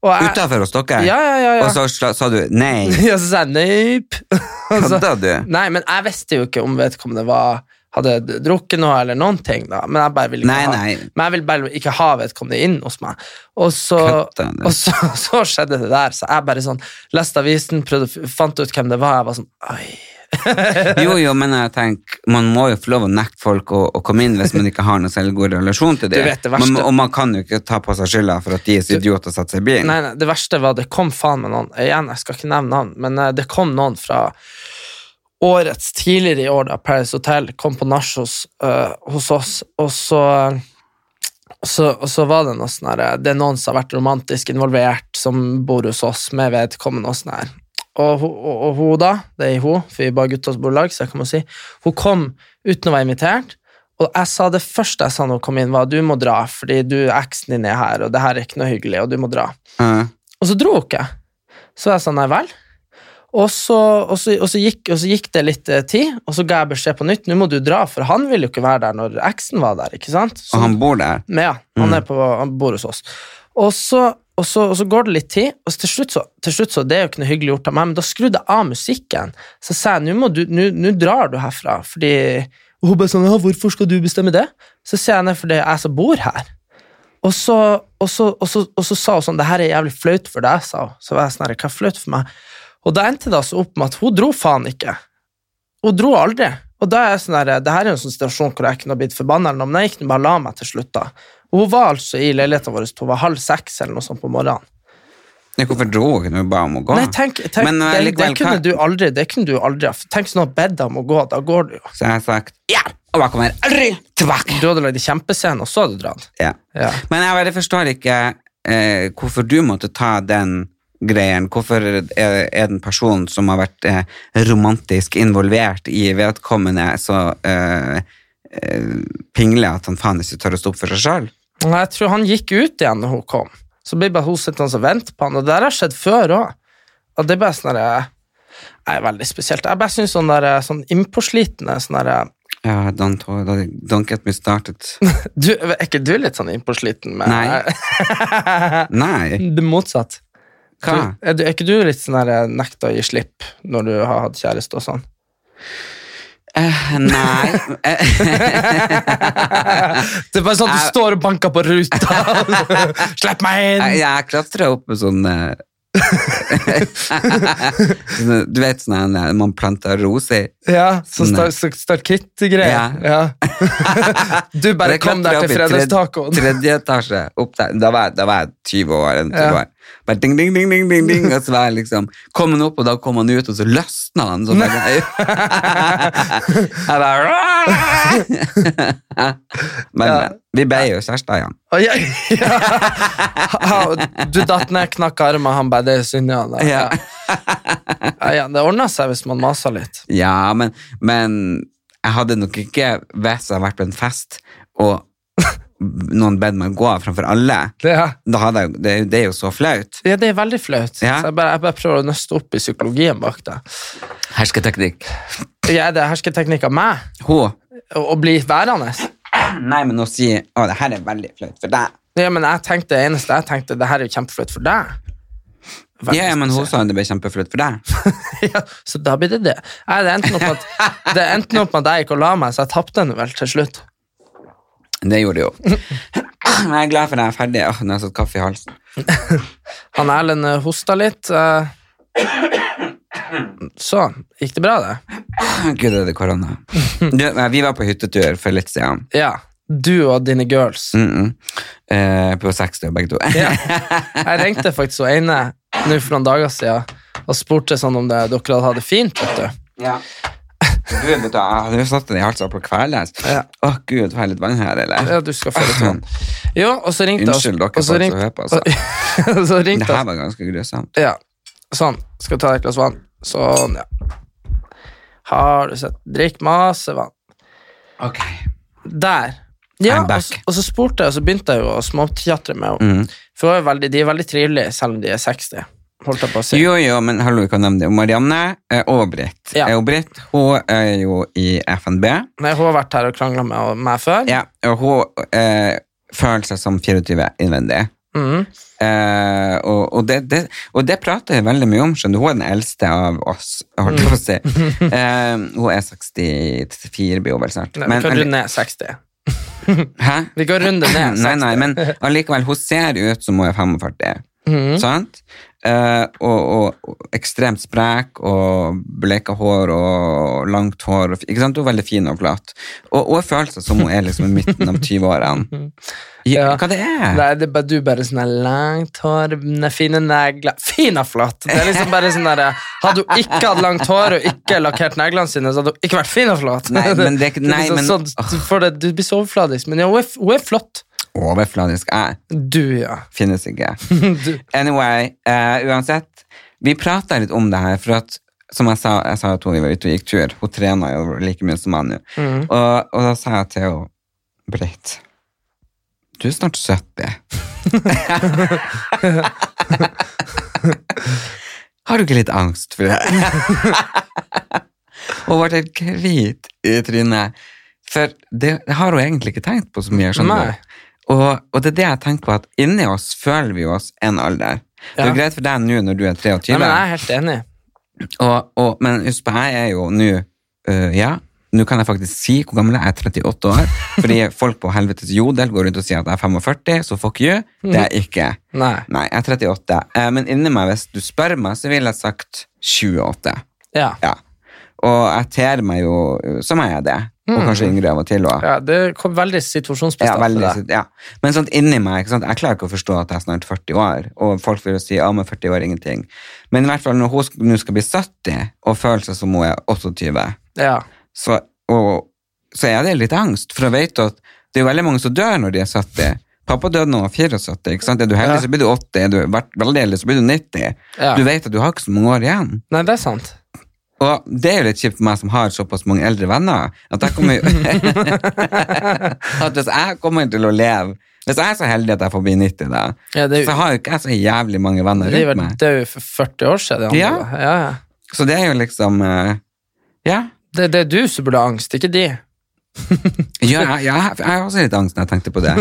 Speaker 2: Og jeg-
Speaker 1: Utafor hos dere?
Speaker 2: Ja, ja, ja. ja.
Speaker 1: Og så sla- sa du
Speaker 2: (laughs)
Speaker 1: nei?
Speaker 2: ja, så sa jeg nøyp. Og så-
Speaker 1: Kødda du?
Speaker 2: (laughs) Nei, men jeg visste jo ikke om vedkommende var, hadde d- drukket noe eller noen ting, da. Men jeg bare ville ikke,
Speaker 1: Nei,
Speaker 2: ha,
Speaker 1: nei.
Speaker 2: Men jeg ville bare ikke ha vedkommende inn hos meg. Og så,
Speaker 1: Kødda du?
Speaker 2: og så, (laughs) så skjedde det der, så jeg bare sånn leste avisen, prøvde, å f- fant ut hvem det var, jeg var sånn Oi.
Speaker 1: Jo, jo, men jeg tenker, man må jo få lov å nekte folk å, å komme inn hvis man ikke har noe særlig god relasjon til dem.
Speaker 2: Du vet det verste.
Speaker 1: og man kan jo ikke ta på seg skylda for at de er så idioter og setter seg i bilen.
Speaker 2: Nei, nei, det verste var det kom faen meg noen Igjen, jeg skal ikke nevne navn, men eh, det kom noen fra årets tidligere i år, da Paris Hotel kom på nach hos, eh, hos oss, og så så, og så var det noe sånn her Det er noen som har vært romantisk involvert, som bor hos oss med vedkommende og sånn her. Og, hun- og, og hun da, det er hun, for vi er bare gutter som bor i lag, så jeg kan jo si Hun kom uten å være invitert, og jeg sa det første jeg sa når hun kom inn, var du må dra, fordi du, eksen din er her, og det her er ikke noe hyggelig, og du må dra.
Speaker 1: Ja.
Speaker 2: Og så dro hun ikke. Så jeg sa sånn, nei vel. Og så, og, så, og, så gikk, og så gikk det litt eh, tid, og så ga jeg beskjed på nytt. Nå må du dra, for han ville jo ikke være der når eksen var der. ikke sant? Så,
Speaker 1: Og han bor der.
Speaker 2: men ja, han, er på, han bor hos oss. Og så, og, så, og så går det litt tid, og så til slutt så, til slutt så Det er jo ikke noe hyggelig gjort av meg, men da skrudde jeg av musikken. Så sa jeg nå må du- nå nå drar du herfra, fordi Og hun bare sånn ja, hvorfor skal du bestemme det? Så sier jeg nei, fordi det er jeg som bor her. Og så, og så, og så, og så sa hun sånn det her er jævlig flaut for deg, sa hun. Så var jeg sånn her, hva er flaut for meg? Og da endte det altså opp med at hun dro faen ikke. Hun dro aldri. Og da er jeg sånn der, det her er jo en sånn situasjon hvor jeg kunne ha blitt forbanna, eller noe, men jeg gikk nå bare og la meg til slutt. da. Og hun var altså i leiligheten vår til hun var halv seks eller noe sånt på morgenen.
Speaker 1: Nei, Hvorfor dro hun ikke? Hun ba om å gå.
Speaker 2: Nei, tenk, tenk
Speaker 1: Men, eh,
Speaker 2: det, det
Speaker 1: likevel,
Speaker 2: kunne
Speaker 1: hva-
Speaker 2: du aldri det kunne du aldri ha. Tenk sånn å bedt deg om å gå, da går du jo.
Speaker 1: Så jeg har sagt ja, og jeg kommer aldri tilbake.
Speaker 2: Du hadde lagd en kjempescene, og så hadde du dratt.
Speaker 1: Ja.
Speaker 2: Ja.
Speaker 1: Men jeg bare forstår ikke eh, hvorfor du måtte ta den greien. Hvorfor er, er den personen som har vært eh, romantisk involvert i vedkommende, så eh, eh, pingle at han faen ikke tør å stå opp for seg sjøl?
Speaker 2: Og Jeg tror han gikk ut igjen når hun kom. Så blir bare hun sittende og vente på han, og det der har skjedd før òg. Og det er bare sånn der, eh, er veldig spesielt. Jeg bare syns sånn, der, eh, sånn innpåslitne sånn der, eh,
Speaker 1: Ja, don't, don't get me started.
Speaker 2: du, Er ikke du litt sånn innpåsliten med
Speaker 1: (laughs) Nei. (laughs) Nei,
Speaker 2: (laughs) Det motsatt.
Speaker 1: hva?
Speaker 2: Du, er, du, er ikke du litt sånn der, eh, nekta å gi slipp når du har hatt kjæreste og sånn?
Speaker 1: Eh, nei.
Speaker 2: Det er bare sånn at du
Speaker 1: Jeg-
Speaker 2: står og banker på (laughs) ruta. Slipp meg inn!
Speaker 1: Jeg, jeg klatra opp med sånn (laughs) eh, sånn, Du vet sånn en man planter roser
Speaker 2: Ja, så
Speaker 1: Nei.
Speaker 2: star- så Starkitt-greier. (laughs) Ja. Du bare
Speaker 1: Jeg
Speaker 2: kom
Speaker 1: klatret opp i
Speaker 2: der til
Speaker 1: tredje-
Speaker 2: fredagstacoen.
Speaker 1: Tredje etasje. Opp der. Da var jeg, da var jeg 20 år. eller noe
Speaker 2: Ja.
Speaker 1: sånt. Bare ding, ding, ding, ding, ding, ding. Og så var jeg liksom, kom han opp, og da kom han ut, og så løsna han. sånn. Så bare, jeg (laughs) bare (laughs) Men eh,
Speaker 2: Ja.
Speaker 1: vi ble jo kjærester igjen.
Speaker 2: Å, Ja, ja. Ha- Du datt ned, knakk armen, han bare 'det er synd', ja. da».
Speaker 1: Ja.
Speaker 2: Ja, ja, det ordna seg hvis man masa litt.
Speaker 1: Ja, men, men jeg hadde nok ikke hvis jeg hadde vært på en fest og noen bedt meg gå framfor alle.
Speaker 2: Det, ja.
Speaker 1: Da hadde jeg, det, det er jo så flaut.
Speaker 2: Ja, det er veldig flaut.
Speaker 1: Ja.
Speaker 2: Så jeg, bare, jeg bare prøver å nøste opp i psykologien bak det.
Speaker 1: Hersketeknikk.
Speaker 2: Ja, det er hersketeknikk av meg
Speaker 1: Hun
Speaker 2: å å bli værende.
Speaker 1: Nei, men å si å, det her er veldig flaut for deg.
Speaker 2: Ja, men jeg tenkte det eneste jeg tenkte, det her er jo kjempeflaut for deg. (laughs) Veldig
Speaker 1: Ja, ja, men hun
Speaker 2: spesielt.
Speaker 1: sa det ble kjempeflaut for deg.
Speaker 2: ja, så da blir det det. Nei, det endte opp med at, det endte opp med at jeg gikk og la meg, så jeg tapte den vel til slutt.
Speaker 1: Det gjorde hun.
Speaker 2: (laughs)
Speaker 1: Men jeg er glad for at jeg er ferdig. Åh, nå har jeg satt kaffe i halsen.
Speaker 2: Han Erlend eh, hosta litt. eh. Så gikk det bra, det.
Speaker 1: Gud, er det korona. Du, eh, vi var på hyttetur for litt siden.
Speaker 2: Ja. Du og dine girls.
Speaker 1: Mm -mm. Eh, på 60 begge to.
Speaker 2: (laughs) Ja. Jeg ringte faktisk hun ene nå for noen dager siden og spurte sånn om det, dere hadde hatt det fint. vet du.
Speaker 1: (laughs) Ja. Gud, vet du, jeg hadde jo satt den i halsen på kveles.
Speaker 2: Ja.
Speaker 1: Åh, gud, får jeg litt vann her, eller?
Speaker 2: Ja, du skal få litt vann. Jo, og så ringte
Speaker 1: Unnskyld dere
Speaker 2: og så
Speaker 1: folk som
Speaker 2: ringte-
Speaker 1: hører på, altså.
Speaker 2: (laughs) og så
Speaker 1: Det
Speaker 2: ringte
Speaker 1: her
Speaker 2: hun
Speaker 1: var ganske grusomt.
Speaker 2: Ja. Sånn. Skal vi ta et glass vann? Sånn, ja. Har du sett Drikk masse vann.
Speaker 1: Ok.
Speaker 2: Der. Ja,
Speaker 1: I'm back.
Speaker 2: og, så- og så spurte jeg, og så begynte jeg jo å småpjatre med henne.
Speaker 1: Mm.
Speaker 2: For hun er veldig, de er veldig trivelige, selv om de er 60. Holdt jeg på å si.
Speaker 1: Jo, jo, men hallo, vi kan nevne det. Marianne eh, og Britt.
Speaker 2: Ja.
Speaker 1: Eh, Og Britt, hun er jo i FNB.
Speaker 2: Nei, hun har vært her og krangla med og- meg før.
Speaker 1: Ja, og hun eh, føler seg som 24 innvendig.
Speaker 2: Mhm.
Speaker 1: Eh, og, og, det, det, og det prater jeg veldig mye om, skjønner du. Hun er den eldste av oss, holdt jeg på å si. Eh, hun er 64, blir hun vel snart.
Speaker 2: Nei,
Speaker 1: Men-
Speaker 2: vi kan runde ned 60.
Speaker 1: hæ?
Speaker 2: Vi kan runde ned 60.
Speaker 1: (clears throat) Nei, nei, men allikevel, hun ser ut som hun er 45.
Speaker 2: Mhm.
Speaker 1: Sant? Eh, og, og, og ekstremt sprek og bleka hår og langt hår. og f- Ikke sant? Hun er veldig fin og flat. Og, og føler seg som hun er liksom i midten
Speaker 2: (laughs)
Speaker 1: av 20-årene. Ja,
Speaker 2: Mhm. Ja.
Speaker 1: Hva det er?
Speaker 2: Nei, det er bare, du bare sånn her langt hår, ne- fine negler Fin og flott! Det er liksom bare sånn der, Hadde hun ikke hatt langt hår og ikke lakkert neglene sine, så hadde hun ikke vært fin og flott.
Speaker 1: Nei, men det
Speaker 2: (laughs)
Speaker 1: er ikke- nei,
Speaker 2: liksom
Speaker 1: men-
Speaker 2: sånn, du, får det, du blir så overfladisk. Men ja, hun er, hun er flott.
Speaker 1: Overfladisk jeg
Speaker 2: Du, ja.
Speaker 1: finnes ikke.
Speaker 2: Du.
Speaker 1: Anyway, eh, uansett. Vi prata litt om det her, for at som jeg sa, jeg sa at hun var ute og gikk tur. Hun trener jo like mye som han nå. Og, og da sa jeg til henne Britt, du er snart 70. Har Har du ikke litt angst for det? og ble helt hvit i trynet. For det har hun egentlig ikke tenkt på så mye. skjønner
Speaker 2: Nei.
Speaker 1: du? Og, og det er det jeg tenker på, at inni oss føler vi oss en alder. Det er
Speaker 2: Ja.
Speaker 1: jo greit for deg nå når du er 23,
Speaker 2: Nei, men jeg er helt enig.
Speaker 1: og, og, men husk på, jeg er jo nå øh, Ja, nå kan jeg faktisk si hvor gammel jeg er. 38
Speaker 2: (laughs)
Speaker 1: år. Fordi folk på helvetes jodel går rundt og sier at jeg er 45, så fuck you. Det er jeg ikke.
Speaker 2: Nei.
Speaker 1: Nei, jeg er 38. Eh, Men inni meg, hvis du spør meg, så ville jeg sagt 28.
Speaker 2: Ja.
Speaker 1: Ja. Og jeg ter meg jo øh, som jeg er det.
Speaker 2: Mm.
Speaker 1: Og kanskje yngre av og til òg.
Speaker 2: Ja, det kom veldig situasjonsbestemt.
Speaker 1: Ja, veldig,
Speaker 2: for deg.
Speaker 1: ja. Men sånn inni meg, ikke sant? jeg klarer ikke å forstå at jeg er snart 40 år, og folk vil jo si ja, men 40 år er ingenting. Men i hvert fall når hun sk- nå skal bli 70, og føler seg som hun er 28,
Speaker 2: Ja.
Speaker 1: så, og, så er det litt angst, for hun vet at det er jo veldig mange som dør når de er 70. Pappa døde når han var 74, ikke sant? er du heldig
Speaker 2: Ja.
Speaker 1: så blir du 80, er du veld- veldig heldig så blir du 90.
Speaker 2: Ja.
Speaker 1: Du vet at du har ikke så mange år igjen.
Speaker 2: Nei, det er sant.
Speaker 1: Og det er jo litt kjipt for meg som har såpass mange eldre venner, at jeg
Speaker 2: (laughs)
Speaker 1: kommer jo At hvis jeg kommer til å leve Hvis jeg er så heldig at jeg får bli 90, da,
Speaker 2: Ja, det er jo-
Speaker 1: så har jo ikke jeg så jævlig mange venner
Speaker 2: Det er
Speaker 1: rundt
Speaker 2: vel-
Speaker 1: meg.
Speaker 2: det er jo for 40 år siden. det andre,
Speaker 1: Ja.
Speaker 2: da. Ja, ja.
Speaker 1: Så det er jo liksom eh, Ja.
Speaker 2: Det, det er du som burde ha angst, ikke de.
Speaker 1: Ja, jeg, jeg, jeg har også litt angst når jeg tenkte på det.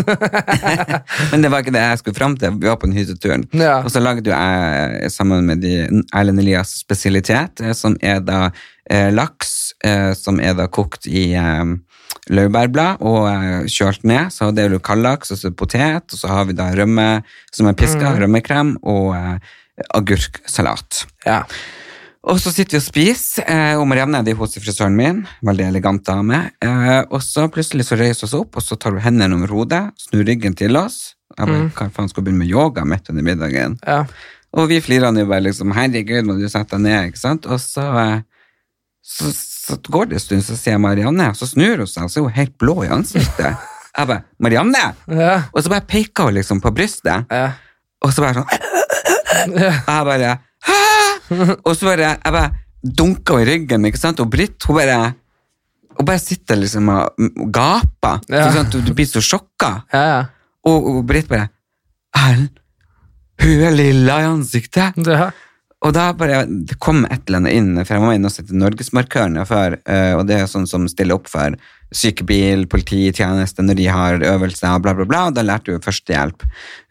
Speaker 1: Men det var ikke det jeg skulle fram til. Vi var på den hytteturen,
Speaker 2: Ja.
Speaker 1: og så lagde jo jeg sammen med de, Erlend Elias spesialitet, eh, som er da eh, laks, eh, som er da kokt i eh, laurbærblad og eh, kjølt ned. Så det er jo kaldlaks, og så potet, og så har vi da rømme som er piska, rømmekrem og eh, agurksalat.
Speaker 2: Ja.
Speaker 1: Og så sitter vi og spiser, eh, og Marianne er hos frisøren min, veldig elegant dame, eh, og så plutselig så reiser hun seg opp, og så tar hun hendene over hodet, snur ryggen til oss, jeg bare, hva faen skal hun begynne med yoga midt under middagen?
Speaker 2: Ja.
Speaker 1: Og vi flirer jo bare liksom, herregud, må du sette deg ned, ikke sant? Og så, eh, så, så går det en stund, så sier jeg Marianne, og så snur hun seg, og så er hun helt blå i ansiktet. Jeg bare, Marianne!
Speaker 2: Ja.
Speaker 1: Og så bare peker hun liksom på brystet,
Speaker 2: Ja.
Speaker 1: og så bare sånn (laughs) Og jeg bare Hæ? Og så bare Jeg bare dunka henne i ryggen, ikke sant? Og Britt, hun bare Hun bare sitter liksom og og gaper.
Speaker 2: Ja.
Speaker 1: Ikke sant? Du, du blir så sjokka.
Speaker 2: Ja, ja.
Speaker 1: Og, og Britt bare Erlend, hun er lilla i ansiktet.
Speaker 2: Ja.
Speaker 1: Og da bare det kom et eller annet inn, for jeg var inne og sette Norgesmarkørene før, eh, og det er sånn som stiller opp for sykebil, polititjeneste når de har øvelser, bla, bla, bla. og Da lærte du førstehjelp.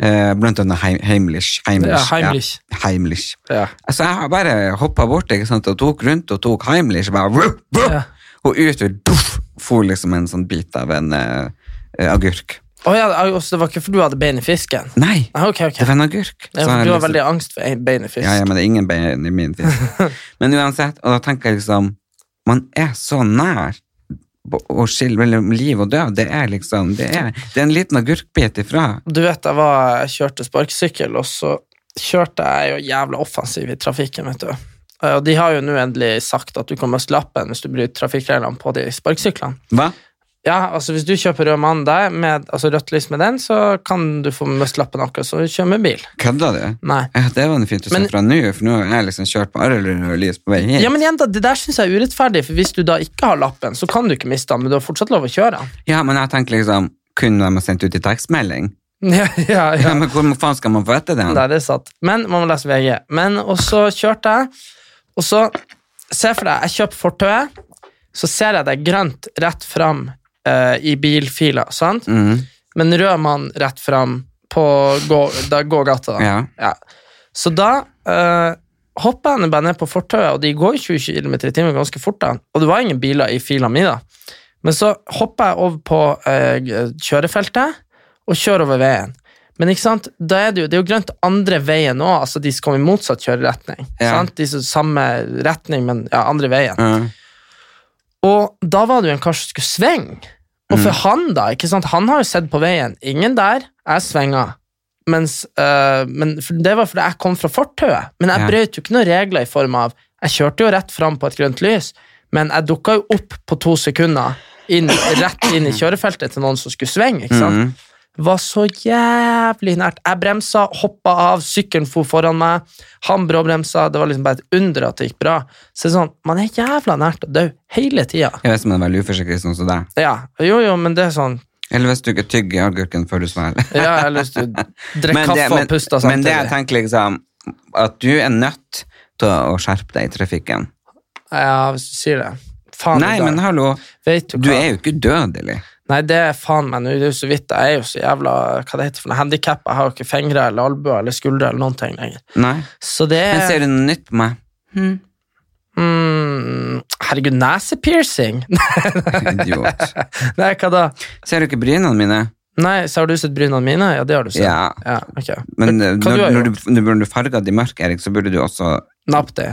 Speaker 1: Eh, Blant annet Heim- Heimlich. Heimlich.
Speaker 2: Ja, Heimlich.
Speaker 1: Ja, Heimlich.
Speaker 2: Ja.
Speaker 1: Altså, jeg har bare hoppa bort ikke sant, og tok rundt og tok Heimlich, og bare vuff, vuff,
Speaker 2: Ja.
Speaker 1: og ut og duff, for liksom en sånn bit av en eh, eh, agurk.
Speaker 2: Å ja, det er jo også- det var ikke for du hadde bein i fisken?
Speaker 1: Nei,
Speaker 2: Ah, Ok, ok.
Speaker 1: det var en agurk.
Speaker 2: Ja,
Speaker 1: Så
Speaker 2: for
Speaker 1: jeg
Speaker 2: du har
Speaker 1: liksom-
Speaker 2: veldig angst for bein i fisk.
Speaker 1: Ja, ja, men det er ingen bein i min
Speaker 2: (laughs)
Speaker 1: fisk. Men uansett, og da tenker jeg liksom Man er så nær på- å skille mellom liv og død. Det er liksom Det er, det er en liten agurkbit ifra.
Speaker 2: Du vet, jeg, var, jeg kjørte sparkesykkel, og så kjørte jeg jo jævla offensiv i trafikken, vet du. Eh, Og de har jo nå endelig sagt at du kan miste lappen hvis du bryter trafikkreglene på de sparkesyklene.
Speaker 1: Hva?
Speaker 2: Ja, altså hvis du kjøper rød mandag, med, altså rødt lys med den, så kan du få miste lappen akkurat som du kjører med bil.
Speaker 1: Kødda du?
Speaker 2: Nei.
Speaker 1: Ja, det var noe fint du sa
Speaker 2: Men-
Speaker 1: fra nå, for nå har jeg liksom kjørt på Arrelund og lys på vei hit.
Speaker 2: Ja, men igjen da, Det der syns jeg er urettferdig, for hvis du da ikke har lappen, så kan du ikke miste den, men du har fortsatt lov å kjøre den.
Speaker 1: Ja, men jeg tenker liksom Kunne de ha sendt ut i tekstmelding?
Speaker 2: (laughs) Ja, ja,
Speaker 1: Ja. men hvor faen skal man få etter den?
Speaker 2: Nei, det er sant. Men man må lese VG. Men, og så kjørte jeg, og så Se for deg, jeg kjøper fortauet, så ser jeg det er grønt rett fram eh, i bilfila, sant?
Speaker 1: Mhm.
Speaker 2: Men rød mann rett fram på gå, da, gågata. Da.
Speaker 1: Ja.
Speaker 2: Så da eh, hopper jeg nå bare ned på fortauet, og de går 20 km i timen ganske fort, da. og det var ingen biler i fila mi, da. Men så hopper jeg over på eh, kjørefeltet og kjører over veien. Men ikke sant? Da er det, jo, det er jo grønt andre veien òg, altså de som kommer i motsatt kjøreretning.
Speaker 1: Ja.
Speaker 2: Sant? De som samme retning, men ja, andre veien.
Speaker 1: Ja.
Speaker 2: Og da var det jo en kar som skulle svinge. Og for han, da, ikke sant? han har jo sett på veien. Ingen der. Jeg svinga. Mens, øh, men for det var fordi jeg kom fra fortauet. Men jeg
Speaker 1: Ja.
Speaker 2: brøt jo ikke noen regler i form av Jeg kjørte jo rett fram på et grønt lys, men jeg dukka jo opp på to sekunder inn, rett inn i kjørefeltet til noen som skulle svinge. ikke sant?
Speaker 1: Mhm.
Speaker 2: var så jævlig nært. Jeg bremsa, hoppa av, sykkelen for foran meg. Han bråbremsa. Det var liksom bare et under at det gikk bra. Så det er sånn, Man er jævla nært å dø hele tida.
Speaker 1: Jeg vet ikke om jeg er veldig uforsiktig sånn som deg.
Speaker 2: Ja, jo, jo, men det er sånn
Speaker 1: Eller hvis du ikke tygger agurken før du svelger. (laughs)
Speaker 2: Ja, jeg har lyst til å drikke
Speaker 1: Men det-
Speaker 2: kaffe og puste
Speaker 1: Men det jeg
Speaker 2: samtidig.
Speaker 1: tenker liksom, at du er nødt til å skjerpe deg i trafikken.
Speaker 2: Ja, hvis du sier det. Faen,
Speaker 1: Nei,
Speaker 2: du dør.
Speaker 1: men hallo,
Speaker 2: Ah, Vet du,
Speaker 1: du
Speaker 2: hva?
Speaker 1: er jo ikke dødelig.
Speaker 2: Nei, det er faen meg nå. Det er jo så vidt. Jeg er jo så jævla hva det heter for noe handikappa. Jeg har jo ikke fingre eller albuer eller skuldre eller noen ting lenger.
Speaker 1: Nei.
Speaker 2: Så det
Speaker 1: Men
Speaker 2: er
Speaker 1: ser du noe nytt på meg?
Speaker 2: mm, Herregud, nesepiercing?
Speaker 1: Idiot.
Speaker 2: (laughs) Nei, hva da?
Speaker 1: Ser du ikke brynene mine?
Speaker 2: Nei, så har du sett brynene mine? Ja, det har du sett.
Speaker 1: Ja.
Speaker 2: ja ok.
Speaker 1: Men eh,
Speaker 2: hva
Speaker 1: når,
Speaker 2: du har
Speaker 1: når,
Speaker 2: gjort?
Speaker 1: du, når du farger de mørke, Erik, så burde du også
Speaker 2: Napp det.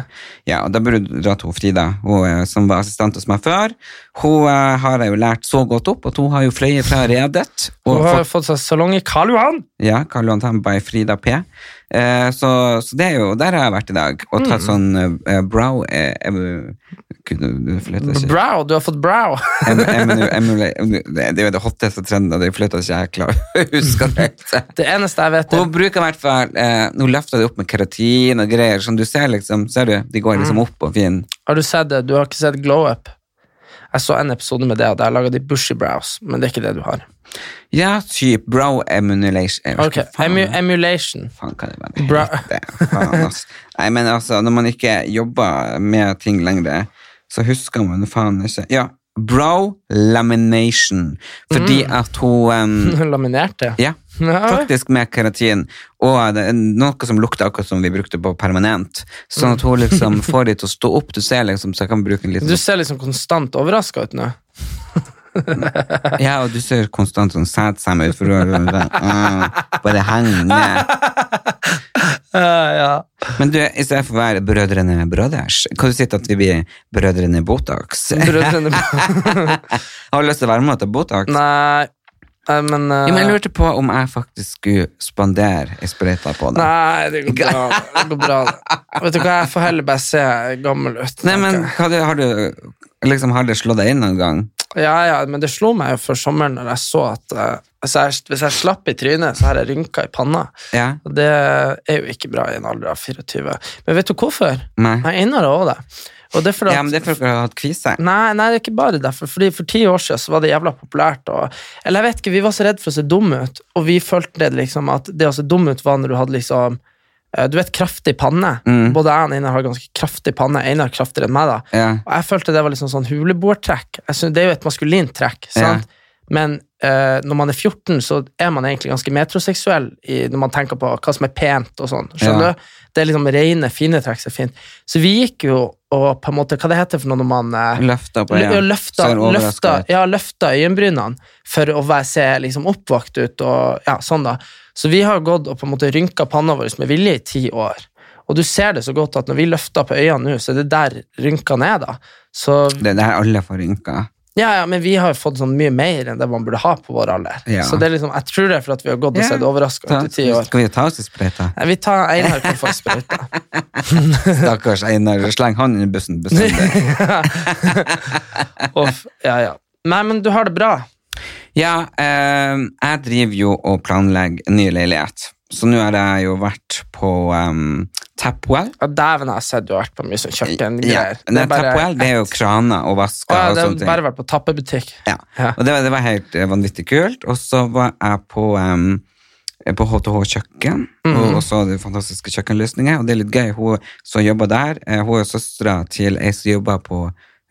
Speaker 1: Ja, og da burde du dra til hun Frida, hun eh, som var assistent hos meg før. Hun eh, har jeg jo lært så godt opp, at hun har jo fløyet fra redet.
Speaker 2: Hun
Speaker 1: Og
Speaker 2: har jo
Speaker 1: fått,
Speaker 2: fått seg salong i Karl Johan.
Speaker 1: ja, Karl Johan Tam by Frida P. Eh, så, så det er jo, der har jeg vært i dag, og
Speaker 2: Mm.
Speaker 1: tatt sånn eh, brow eh, em- Gud, du flytter ikke.
Speaker 2: Brow, du har fått brow. (laughs)
Speaker 1: Em- eminu- emule- emu- Det det er jo det hotteste trenden, og det flytter ikke (laughs) jeg klarer å huske det.
Speaker 2: Det eneste jeg vet,
Speaker 1: Hun bruker i hvert fall eh, Hun løfter det opp med keratin og greier, som du ser liksom, ser du, de går
Speaker 2: Mm.
Speaker 1: liksom opp og fin.
Speaker 2: er Har du sett det? Du har ikke sett Glow Up? Jeg så en episode med det, og der laga de bushy brows, men det er ikke det du har.
Speaker 1: Ja, typ brow emulation. eh, Jeg vet
Speaker 2: Ok,
Speaker 1: ikke faen-
Speaker 2: emu- Emulation. (laughs)
Speaker 1: faen kan det
Speaker 2: Bra-
Speaker 1: være det heter. Faen, ass. Nei, men altså, når man ikke jobber med ting lenger, så husker man faen ikke. Ja, brow lamination. Fordi at hun... em,
Speaker 2: Laminerte.
Speaker 1: ja,
Speaker 2: Ja.
Speaker 1: faktisk med keratin. Og det er noe som lukter akkurat som vi brukte på permanent. Sånn at hun liksom får de til å stå opp. Du ser liksom, så jeg kan bruke en liten...
Speaker 2: Du ser liksom konstant overraska ut nå.
Speaker 1: Ja, og du ser konstant sånn sæd sammen ut, for du har sånn sånn, «Åh, bare henger ned.
Speaker 2: ja.
Speaker 1: Men du, i stedet for å være brødrene brødres, kan du si at vi blir brødrene Botox?
Speaker 2: (laughs) Brødrene
Speaker 1: (laughs) Har du lyst til å være med og ta Botox?
Speaker 2: Nei, Nei, men eh,
Speaker 1: Jo, men jeg lurte på om jeg faktisk skulle spandere ei sprøyte på deg.
Speaker 2: Nei, det går bra. Det går
Speaker 1: (laughs)
Speaker 2: bra. Vet du hva, jeg får heller bare se gammel ut.
Speaker 1: Nei, men
Speaker 2: tenker jeg.
Speaker 1: har du, har du liksom, har det slått deg inn noen gang?
Speaker 2: Ja, ja, men det slo meg jo før sommeren når jeg så at eh, altså jeg, Hvis jeg slapp i trynet, så har jeg rynker i panna.
Speaker 1: Ja?
Speaker 2: Og det er jo ikke bra i en alder av 24. Men vet du hvorfor?
Speaker 1: Nei.
Speaker 2: Jeg innrømmer også det. Og det er fordi
Speaker 1: Ja,
Speaker 2: at-
Speaker 1: men det er for at dere har hatt kvise.
Speaker 2: Nei, nei, det er ikke bare derfor. Fordi For ti år siden så var det jævla populært. Og, eller jeg vet ikke, Vi var så redd for å se dumme ut, og vi følte det liksom at det å se dum ut var når du hadde liksom eh, Du vet, kraftig panne.
Speaker 1: Mm.
Speaker 2: Både jeg og Einar har ganske kraftig panne. Einar er kraftigere enn meg. da
Speaker 1: Ja.
Speaker 2: Og jeg følte det var liksom sånn huleboertrekk. Jeg synes, det er jo et maskulint trekk. sant? Men eh, når man er 14, så er man egentlig ganske metroseksuell i, når man tenker på hva som er pent og sånn.
Speaker 1: Ja.
Speaker 2: Skjønner du? Det er liksom rene, fine trekk som er fint. Så vi gikk jo og på en måte Hva det heter for noe når man eh,
Speaker 1: Løfta på
Speaker 2: Lø- ja,
Speaker 1: øynene.
Speaker 2: løfta,
Speaker 1: Ser overrasket
Speaker 2: løfta,
Speaker 1: ut.
Speaker 2: ja, løfta øyenbrynene for å være, se liksom oppvakt ut. Og, ja, sånn da. Så vi har gått og på en måte rynka panna vår med vilje i ti år. Og du ser det så godt at når vi løfter på øynene nå, så er det der rynkene er. da. Så,
Speaker 1: Det er der alle får rynker.
Speaker 2: ja, ja, Men vi har jo fått sånn mye mer enn det man burde ha på vår alder.
Speaker 1: Ja.
Speaker 2: Så det er liksom, jeg tror det er for at vi har gått og
Speaker 1: Ja.
Speaker 2: sett overraska
Speaker 1: Ta-
Speaker 2: ut i ti år.
Speaker 1: Skal vi ta oss en
Speaker 2: (laughs)
Speaker 1: sprøyte?
Speaker 2: Nei, vi tar Einar kan få sprøyte.
Speaker 1: (laughs) Stakkars Einar, sleng han i bussen.
Speaker 2: (laughs)
Speaker 1: bestandig.
Speaker 2: (laughs) Uff, ja, ja. Nei, men du har det bra.
Speaker 1: Ja, eh, jeg driver jo og planlegger en ny leilighet. Så nå har jeg jo vært på um, Tapwell.
Speaker 2: Ja, Dæven, jeg har sett du har vært på mye sånn kjøkkengreier.
Speaker 1: Ja. Nei, Tapwell det er jo kraner og vasker
Speaker 2: Å, ja, det
Speaker 1: og sånne
Speaker 2: har
Speaker 1: ting.
Speaker 2: bare vært på tappebutikk.
Speaker 1: Ja.
Speaker 2: Ja.
Speaker 1: Og det var, det var helt eh, vanvittig kult. Og så var jeg på, em, på HTH kjøkken,
Speaker 2: Mhm.
Speaker 1: og og så hadde vi fantastiske kjøkkenløsninger. Og det er litt gøy, hun som jobber der, eh, hun er søstera til ei som jobber på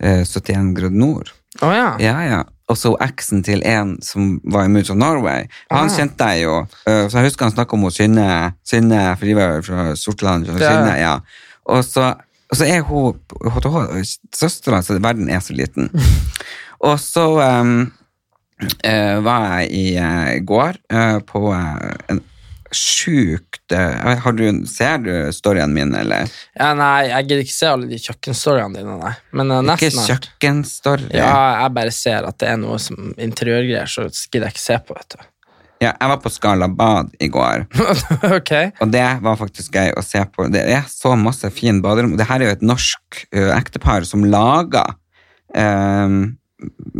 Speaker 1: eh, 71 grad nord.
Speaker 2: Å ja.
Speaker 1: Ja, ja. Og så eksen til en som var i Moods of Norway. Han
Speaker 2: Ah.
Speaker 1: kjente jeg jo. eh, Så jeg husker han snakket om henne, Synne, Synne, for de var jo fra Sortland. Fra
Speaker 2: Ja.
Speaker 1: Synne, ja. Og så, og så er hun HTH, søstera, så verden er så
Speaker 2: (laughs)
Speaker 1: liten. Og så em, eh, var jeg i eh, går eh, på eh, en sjukt eh, har du, Ser du storyen min, eller?
Speaker 2: ja. Nei, jeg gidder ikke se alle de kjøkkenstoryene dine, nei. Men eh,
Speaker 1: Ikke
Speaker 2: nesten. alt.
Speaker 1: kjøkkenstory.
Speaker 2: Ja, jeg bare ser at det er noe som interiørgreier, så gidder jeg ikke se på, vet du. (laughs)
Speaker 1: Ja, jeg var på Skala Bad i går.
Speaker 2: ok.
Speaker 1: Og det var faktisk gøy å se på. Det er så masse fin baderom. Det her er jo et norsk ø, ektepar som lager ehm,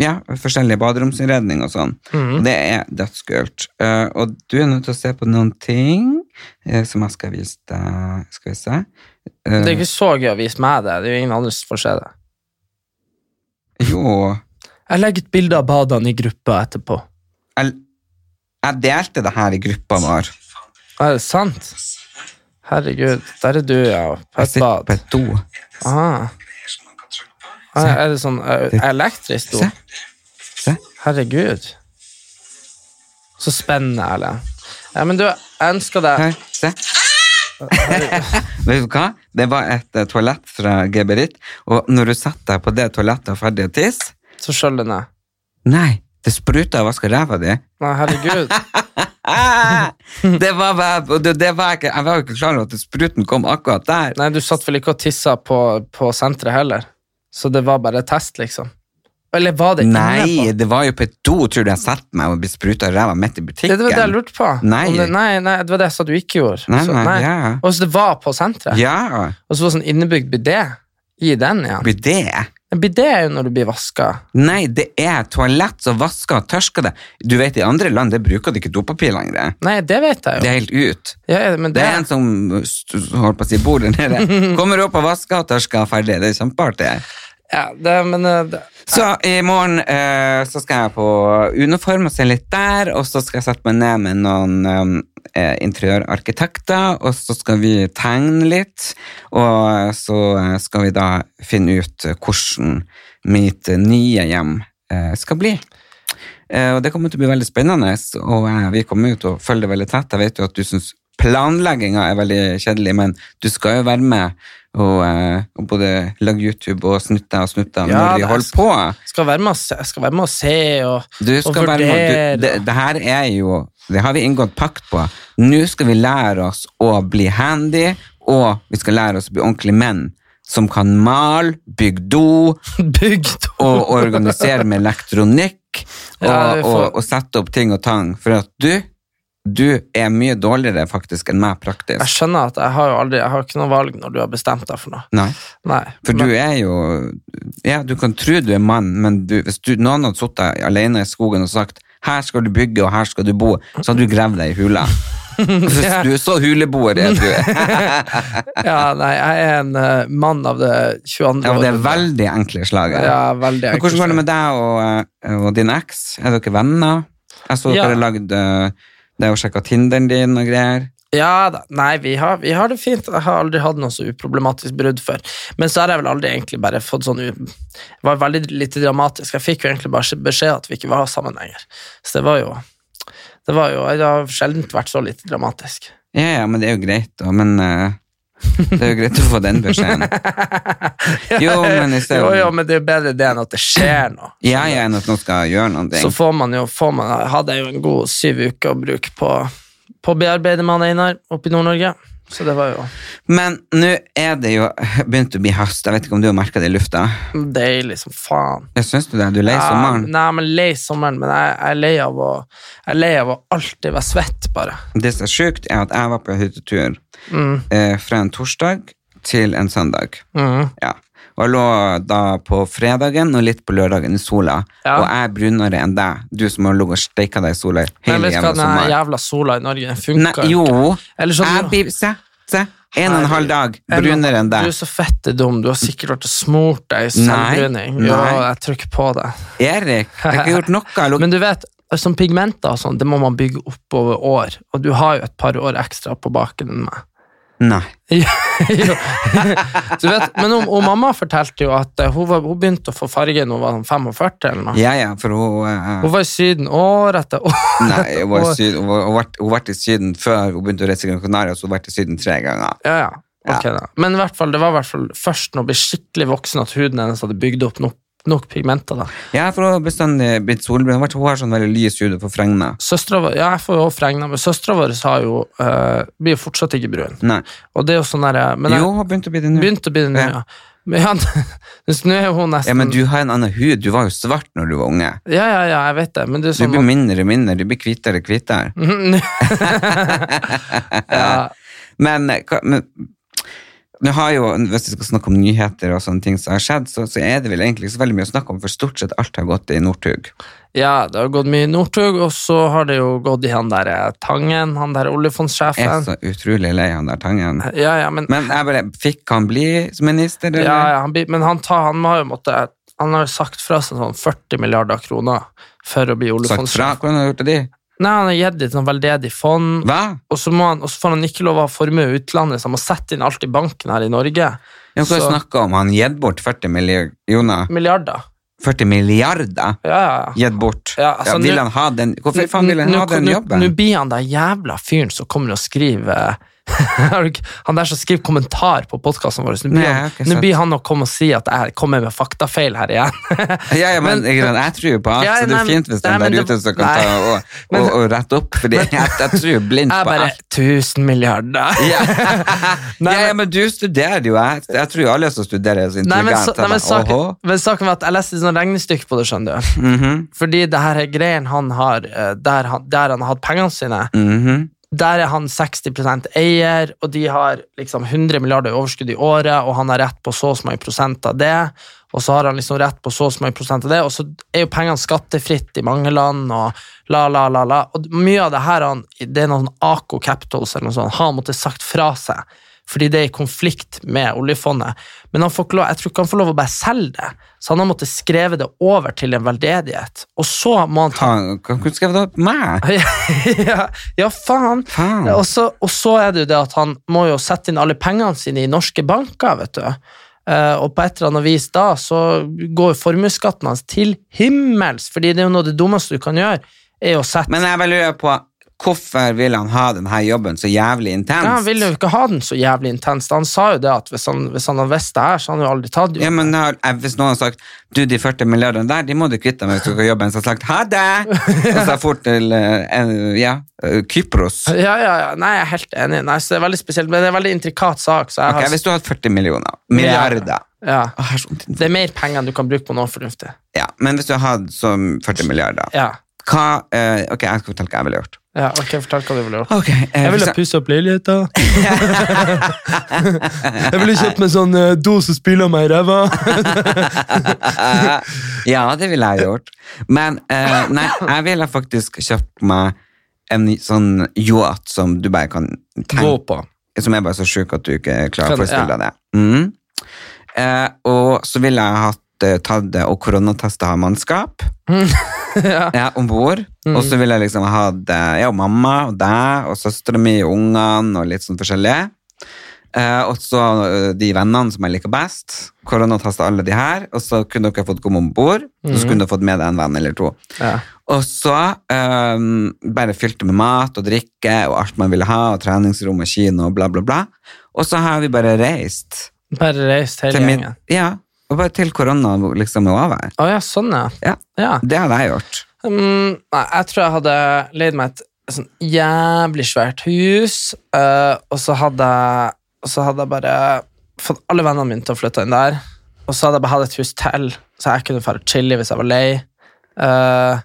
Speaker 1: ja, forskjellige baderomsinnredning og sånn. Og det er dødskult. Eh, og du er nødt til å se på noen ting eh, som jeg skal vise deg. Skal vi se. Eh,
Speaker 2: Det er ikke så gøy å vise meg det. Det er jo ingen andre som får se det.
Speaker 1: Jo,
Speaker 2: Jeg legger ut bilde av badene i gruppa etterpå.
Speaker 1: jeg, jeg delte det her i gruppa vår.
Speaker 2: Er det sant? Herregud, der er du, ja. På
Speaker 1: Jeg
Speaker 2: et
Speaker 1: sitter på
Speaker 2: bad.
Speaker 1: et do.
Speaker 2: Ah. Ah, er det sånn eh, elektrisk do?
Speaker 1: Se. Se.
Speaker 2: Herregud. Så spennende, Erlend. Ja, men du, jeg ønsker deg
Speaker 1: Her, se. Vet du hva? Det var et eh, toalett fra Geberit, og når du satt deg på det toalettet og ferdig å tisse
Speaker 2: Så skjøll den ned.
Speaker 1: Nei, det spruta og vaska ræva
Speaker 2: (laughs)
Speaker 1: di.
Speaker 2: Nei,
Speaker 1: (laughs)
Speaker 2: herregud.
Speaker 1: Ah, det var, bare- det, det var ikke, jeg var jo ikke klar over at spruten kom akkurat der.
Speaker 2: Nei, du satt vel ikke og tissa på, på senteret heller? Så det var bare et test, liksom? Eller var det inne
Speaker 1: Nei,
Speaker 2: på?
Speaker 1: det var jo på et do, tror du jeg satt meg og ble spruta i ræva midt i butikken.
Speaker 2: Det var det jeg lurte på.
Speaker 1: Nei.
Speaker 2: Om Det, nei, nei, det var det jeg sa du ikke gjorde.
Speaker 1: Nei,
Speaker 2: Så-
Speaker 1: nei, ja.
Speaker 2: Og så det var på senteret?
Speaker 1: Ja,
Speaker 2: Og så var det sånn innebygd bidé i den igjen?
Speaker 1: blir det?
Speaker 2: En Bidé er jo når du blir vaska.
Speaker 1: Nei, det er toalett som vasker og tørsker det. Du vet, i andre land, det bruker de ikke dopapir lenger.
Speaker 2: Nei, det vet jeg
Speaker 1: Det
Speaker 2: jo.
Speaker 1: er helt ut.
Speaker 2: Ja, ja, men det,
Speaker 1: Det er en som st- holdt på å si bor der nede. Kommer opp og vasker og tørsker ferdig. Det er kjempeartig.
Speaker 2: ja, det, men eh, det,
Speaker 1: Så i morgen eh, så skal jeg på uniform og se litt der, og så skal jeg sette meg ned med noen eh, interiørarkitekter, og så skal vi tegne litt, og så eh, skal vi da finne ut eh, hvordan mitt eh, nye hjem eh, skal bli. Eh, og det kommer til å bli veldig spennende, og eh, vi kommer jo til å følge det veldig tett. Jeg vet jo at du syns planlegginga er veldig kjedelig, men du skal jo være med. Og, eh, og både lage YouTube og snutte og snutte
Speaker 2: Ja,
Speaker 1: når
Speaker 2: det
Speaker 1: de
Speaker 2: er
Speaker 1: holder på.
Speaker 2: skal være med å se, jeg skal være med å se og,
Speaker 1: Du
Speaker 2: og
Speaker 1: skal være med. Du, det, det her er jo Det har vi inngått pakt på. Nå skal vi lære oss å bli handy, og vi skal lære oss å bli ordentlige menn. Som kan male, bygge do
Speaker 2: (laughs) Bygd
Speaker 1: og organisere med elektronikk. Og,
Speaker 2: Ja, vi får-
Speaker 1: og, og sette opp ting og tang. For at du, du er mye dårligere faktisk enn meg
Speaker 2: Jeg
Speaker 1: praktisk.
Speaker 2: skjønner at jeg har jo aldri Jeg har ikke noe valg når du har bestemt deg for noe.
Speaker 1: Nei.
Speaker 2: Nei,
Speaker 1: For
Speaker 2: men,
Speaker 1: du er jo Ja, du kan tro du er mann, men du, hvis du, noen hadde sittet alene i skogen og sagt her skal du bygge, og her skal du bo, så hadde du gravd deg i
Speaker 2: (laughs)
Speaker 1: hula.
Speaker 2: Ja.
Speaker 1: Du er så huleboer, er
Speaker 2: (laughs)
Speaker 1: du. (laughs)
Speaker 2: ja, nei, jeg er en eh, mann av det 22.
Speaker 1: Ja, det er
Speaker 2: århundre.
Speaker 1: veldig enkle slag.
Speaker 2: ja, veldig
Speaker 1: Men hvordan går det
Speaker 2: enkelt.
Speaker 1: med deg og, eh, og din eks? Er dere venner? Jeg så
Speaker 2: Ja.
Speaker 1: dere lagde eh, Det er jo sjekka Tinderen din og greier.
Speaker 2: Ja da. Nei, vi har, vi har det fint. Jeg har aldri hatt noe så uproblematisk brudd før. Men så har jeg vel aldri egentlig bare fått sånn u... Det var veldig lite dramatisk. Jeg fikk jo egentlig bare beskjed at vi ikke var sammen lenger. Så det var jo Det var jo Det har sjelden vært så lite dramatisk.
Speaker 1: Ja, ja, men det er jo greit, da. Men eh, det er jo greit å få den
Speaker 2: (laughs)
Speaker 1: beskjeden. Jo, men i stedet-
Speaker 2: Eh, Jo, jo, men det er jo bedre det enn at det skjer noe.
Speaker 1: (clears throat) Ja, ja, enn at noen skal gjøre noen ting.
Speaker 2: Så får man jo får man, hadde jeg jo en god syv uker å bruke på, på å bearbeide med han Einar oppe i Nord-Norge. Så det var jo
Speaker 1: Men nå er det jo begynt å bli høst. Jeg vet ikke om du har merka det i lufta.
Speaker 2: deilig som faen.
Speaker 1: Jeg syns du det? Du er
Speaker 2: Ah,
Speaker 1: lei sommeren?
Speaker 2: Eh, Nei, men lei sommeren, men jeg, jeg, er lei av å, jeg er lei av å alltid være svett, bare.
Speaker 1: Det som er sjukt, er at jeg var på hyttetur
Speaker 2: Mm.
Speaker 1: eh, fra en torsdag til en søndag. Ja. Og jeg lå da på fredagen og litt på lørdagen i sola.
Speaker 2: Ja.
Speaker 1: Og jeg er brunere enn deg, du som har ligget og steika deg i sola
Speaker 2: Men
Speaker 1: hele
Speaker 2: vet du hva,
Speaker 1: jævla
Speaker 2: den
Speaker 1: sommeren.
Speaker 2: jævla sola i Norge
Speaker 1: Nei,
Speaker 2: funker
Speaker 1: jo,
Speaker 2: Eller sånn-
Speaker 1: jeg blir Se, se. En og en halv dag brunere enn
Speaker 2: Du
Speaker 1: deg.
Speaker 2: er så fette dum. Du har sikkert vært og smurt deg i solbruning.
Speaker 1: Nei,
Speaker 2: Jo,
Speaker 1: nei.
Speaker 2: jeg trykker på det.
Speaker 1: Erik, jeg har ikke gjort noe. Jeg lå-
Speaker 2: Men du vet, sånn pigmenter og sånn, det må man bygge opp over år. Og du har jo et par år ekstra på baken enn meg. (laughs)
Speaker 1: Nei.
Speaker 2: Jo, jo. du vet, men hun, hun mamma fortalte jo at eh, hun, var, hun begynte å få farge når hun var sånn 45 eller noe.
Speaker 1: Ja, ja, for hun eh,
Speaker 2: Hun var i Syden år etter år.
Speaker 1: Nei, hun var, i
Speaker 2: Og-
Speaker 1: syden, hun, var, hun, var, hun var i Syden før hun begynte å reise til Gran Canaria, så hun var i Syden tre ganger.
Speaker 2: Ja, ja. Ok, da. Men i hvert fall, det var i hvert fall først når hun ble skikkelig voksen at huden hennes hadde bygd opp nok, nok pigmenter. da.
Speaker 1: Ja, for hun har bestandig blitt solbrun. Hun har vært- Hun har sånn veldig lys hud og forfregna.
Speaker 2: Søstra vår, ja, jeg får jo også fregna, men søstera vår har jo, eh, blir jo fortsatt ikke brun.
Speaker 1: Nei.
Speaker 2: Og det er jo sånn der, men jeg
Speaker 1: Jo, hun begynte å bli det nå.
Speaker 2: begynte å bli det nå,
Speaker 1: Ja.
Speaker 2: ja. Men ja, (laughs) så nå er hun nesten
Speaker 1: Ja, men du har en annen hud. Du var jo svart når du var unge.
Speaker 2: ja, ja, ja, jeg vet det. Men det er
Speaker 1: Du
Speaker 2: sånn
Speaker 1: blir mindre og mindre. Du blir hvitere og hvitere.
Speaker 2: (laughs) ja,
Speaker 1: Men, eh, hva- men nå har jo, hvis vi skal snakke om nyheter og sånne ting som har skjedd, så, så er det vel egentlig ikke så veldig mye å snakke om, for stort sett alt har gått i Northug.
Speaker 2: Ja, det har gått mye i Northug, og så har det jo gått i han der eh, Tangen, han der
Speaker 1: Jeg er
Speaker 2: oljefondsjefen.
Speaker 1: så utrolig lei han der Tangen.
Speaker 2: Ja, ja, men,
Speaker 1: Men jeg bare, fikk han bli minister? eller?
Speaker 2: ja, ja, han, blir- men han, tar, han har jo måttet Han har jo sagt fra seg sånn 40 milliarder kroner for å bli
Speaker 1: sagt fra?
Speaker 2: oljefondsjef.
Speaker 1: Hvordan har du gjort det?
Speaker 2: Nei, han har gitt det til noen veldedig fond,
Speaker 1: Hva?
Speaker 2: og så, må han, og så får han ikke lov å ha formue i utlandet, så han må sette inn alt i banken her i Norge.
Speaker 1: Ja, hva
Speaker 2: Så-
Speaker 1: snakker om? Han gitt bort 40 millioner.
Speaker 2: Milliarder.
Speaker 1: 40 milliarder
Speaker 2: Ja, ja, ja.
Speaker 1: gitt bort.
Speaker 2: Ja, altså,
Speaker 1: ja, vil
Speaker 2: nå-
Speaker 1: han ha den? Hvorfor
Speaker 2: Nå-
Speaker 1: faen vil han
Speaker 2: nå-
Speaker 1: ha den
Speaker 2: nå-
Speaker 1: jobben?
Speaker 2: Nå blir han den jævla fyren som kommer og skriver (laughs) Har du ikke- Han der som skriver kommentar på podkasten vår. Nå blir,
Speaker 1: Nei,
Speaker 2: han,
Speaker 1: ok,
Speaker 2: nå
Speaker 1: sant.
Speaker 2: blir han å komme og si at jeg kommer med faktafeil her igjen. (laughs)
Speaker 1: Ja, ja, men, ikke sant, jeg tror på alt,
Speaker 2: Ja,
Speaker 1: så det
Speaker 2: nei,
Speaker 1: er fint hvis
Speaker 2: nei,
Speaker 1: den
Speaker 2: men
Speaker 1: der
Speaker 2: det-
Speaker 1: ute som kan
Speaker 2: nei.
Speaker 1: ta og, og,
Speaker 2: (laughs) Men-
Speaker 1: og, rette opp, fordi jeg, jeg tror blindt
Speaker 2: jeg
Speaker 1: på
Speaker 2: bare
Speaker 1: alt.
Speaker 2: 1000 milliarder.
Speaker 1: Ja.
Speaker 2: (laughs) Nei,
Speaker 1: ja, ja, men du studerer jo. Jeg, jeg tror jo alle som studerer, er så
Speaker 2: Nei, men,
Speaker 1: intelligente.
Speaker 2: så- nei, men,
Speaker 1: da.
Speaker 2: saken,
Speaker 1: Åhå.
Speaker 2: men saken var at jeg leste et sånt regnestykke på det, skjønner du.
Speaker 1: Mhm,
Speaker 2: Fordi det her er greien han har, eh, der han, der han har hatt pengene sine,
Speaker 1: mhm.
Speaker 2: der er han 60 eier, og de har liksom 100 milliarder i overskudd i året, og han har rett på så og så mange prosent av det, og så har han liksom rett på så og så mange prosent av det, og så er jo pengene skattefritt i mange land, og la, la, la, la. Og mye av det her, han, det er noen sånn Aco Capitals eller noe sånt, han måtte sagt fra seg, fordi det er i konflikt med oljefondet. Men han får ikke lov, jeg tror ikke han får lov å bare selge det, så han har måttet skreve det over til en veldedighet, og så må han ta
Speaker 1: Faen, Hvordan skrev du opp meg?
Speaker 2: (laughs) ja, ja, faen.
Speaker 1: Faen.
Speaker 2: Og, så, og så er det jo det at han må jo sette inn alle pengene sine i norske banker, vet du. Eh, og på et eller annet vis da så går jo formuesskatten hans til himmels, fordi det er jo noe av det dummeste du kan gjøre, er å sette
Speaker 1: Men jeg bare lurer på, hvorfor vil han ha denne jobben så jævlig intens?
Speaker 2: ja, Han ville jo ikke ha den så jævlig intenst. Han sa jo det at hvis han, hvis han hadde visst det her, så hadde han jo aldri tatt
Speaker 1: Ja,
Speaker 2: det.
Speaker 1: men da har- eh, Hvis noen har sagt du, de 40 milliardene der, de må du kvitte deg med hvis du skal jobbe, så har jeg sagt ha det! Og så har jeg fort til eh, en- ja, eh, Kypros.
Speaker 2: (laughs) Ja, ja, ja. Nei, jeg er helt enig. Nei, så det er veldig spesielt, men det er en veldig intrikat sak. Så jeg
Speaker 1: Ok,
Speaker 2: har,
Speaker 1: Hvis du har hatt 40 millioner, milliarder
Speaker 2: ja.
Speaker 1: Å, jeg har så vondt i-
Speaker 2: Det er mer penger enn du kan bruke på noe fornuftig.
Speaker 1: ja, Men hvis du har hatt som 40 milliarder,
Speaker 2: Ja.
Speaker 1: hva eh, Ok, jeg skal fortelle hva jeg ville gjort.
Speaker 2: ja. Ok, fortell hva du ville gjort.
Speaker 1: Ok, eh,
Speaker 2: Jeg
Speaker 1: hvis
Speaker 2: ville pusse opp (laughs) leiligheta. jeg ville kjøpt meg sånn eh, do som spyler meg i ræva.
Speaker 1: eh, Ja, det ville jeg gjort. Men eh, nei, jeg ville faktisk kjøpt meg en sånn yacht som du bare kan
Speaker 2: Gå
Speaker 1: tenke
Speaker 2: på.
Speaker 1: som er bare så sjuk at du ikke klarer å
Speaker 2: Skjønner,
Speaker 1: forestille deg det. Mm. Eh, og så ville jeg hatt eh, tatt det og koronatesta mannskap
Speaker 2: Mm. (laughs) ja. Mm.
Speaker 1: ja, om bord. Og så ville jeg liksom hatt eh, ja, mamma og deg og søstera mi og ungene og litt sånn forskjellig. Eh, og så eh, de vennene som jeg liker best. Koronatesta alle de her. Og så kunne dere fått komme om bord, og så kunne dere fått med deg en venn eller to.
Speaker 2: Mm. Ja.
Speaker 1: Og så ehm, bare fylte med mat og drikke og alt man ville ha, og treningsrom og kino og bla, bla, bla. Og så har vi bare reist.
Speaker 2: Bare reist hele
Speaker 1: Til min,
Speaker 2: gjengen.
Speaker 1: ja, og bare til korona liksom er over.
Speaker 2: Å ja, sånn, ja.
Speaker 1: Ja,
Speaker 2: ja.
Speaker 1: det hadde jeg gjort.
Speaker 2: Mm, nei, jeg tror jeg hadde leid meg et sånn jævlig svært hus, eh, og så hadde jeg og så hadde jeg bare fått alle vennene mine til å flytte inn der. Og så hadde jeg bare hatt et hus til, så jeg kunne dra og chille hvis jeg var lei. Eh,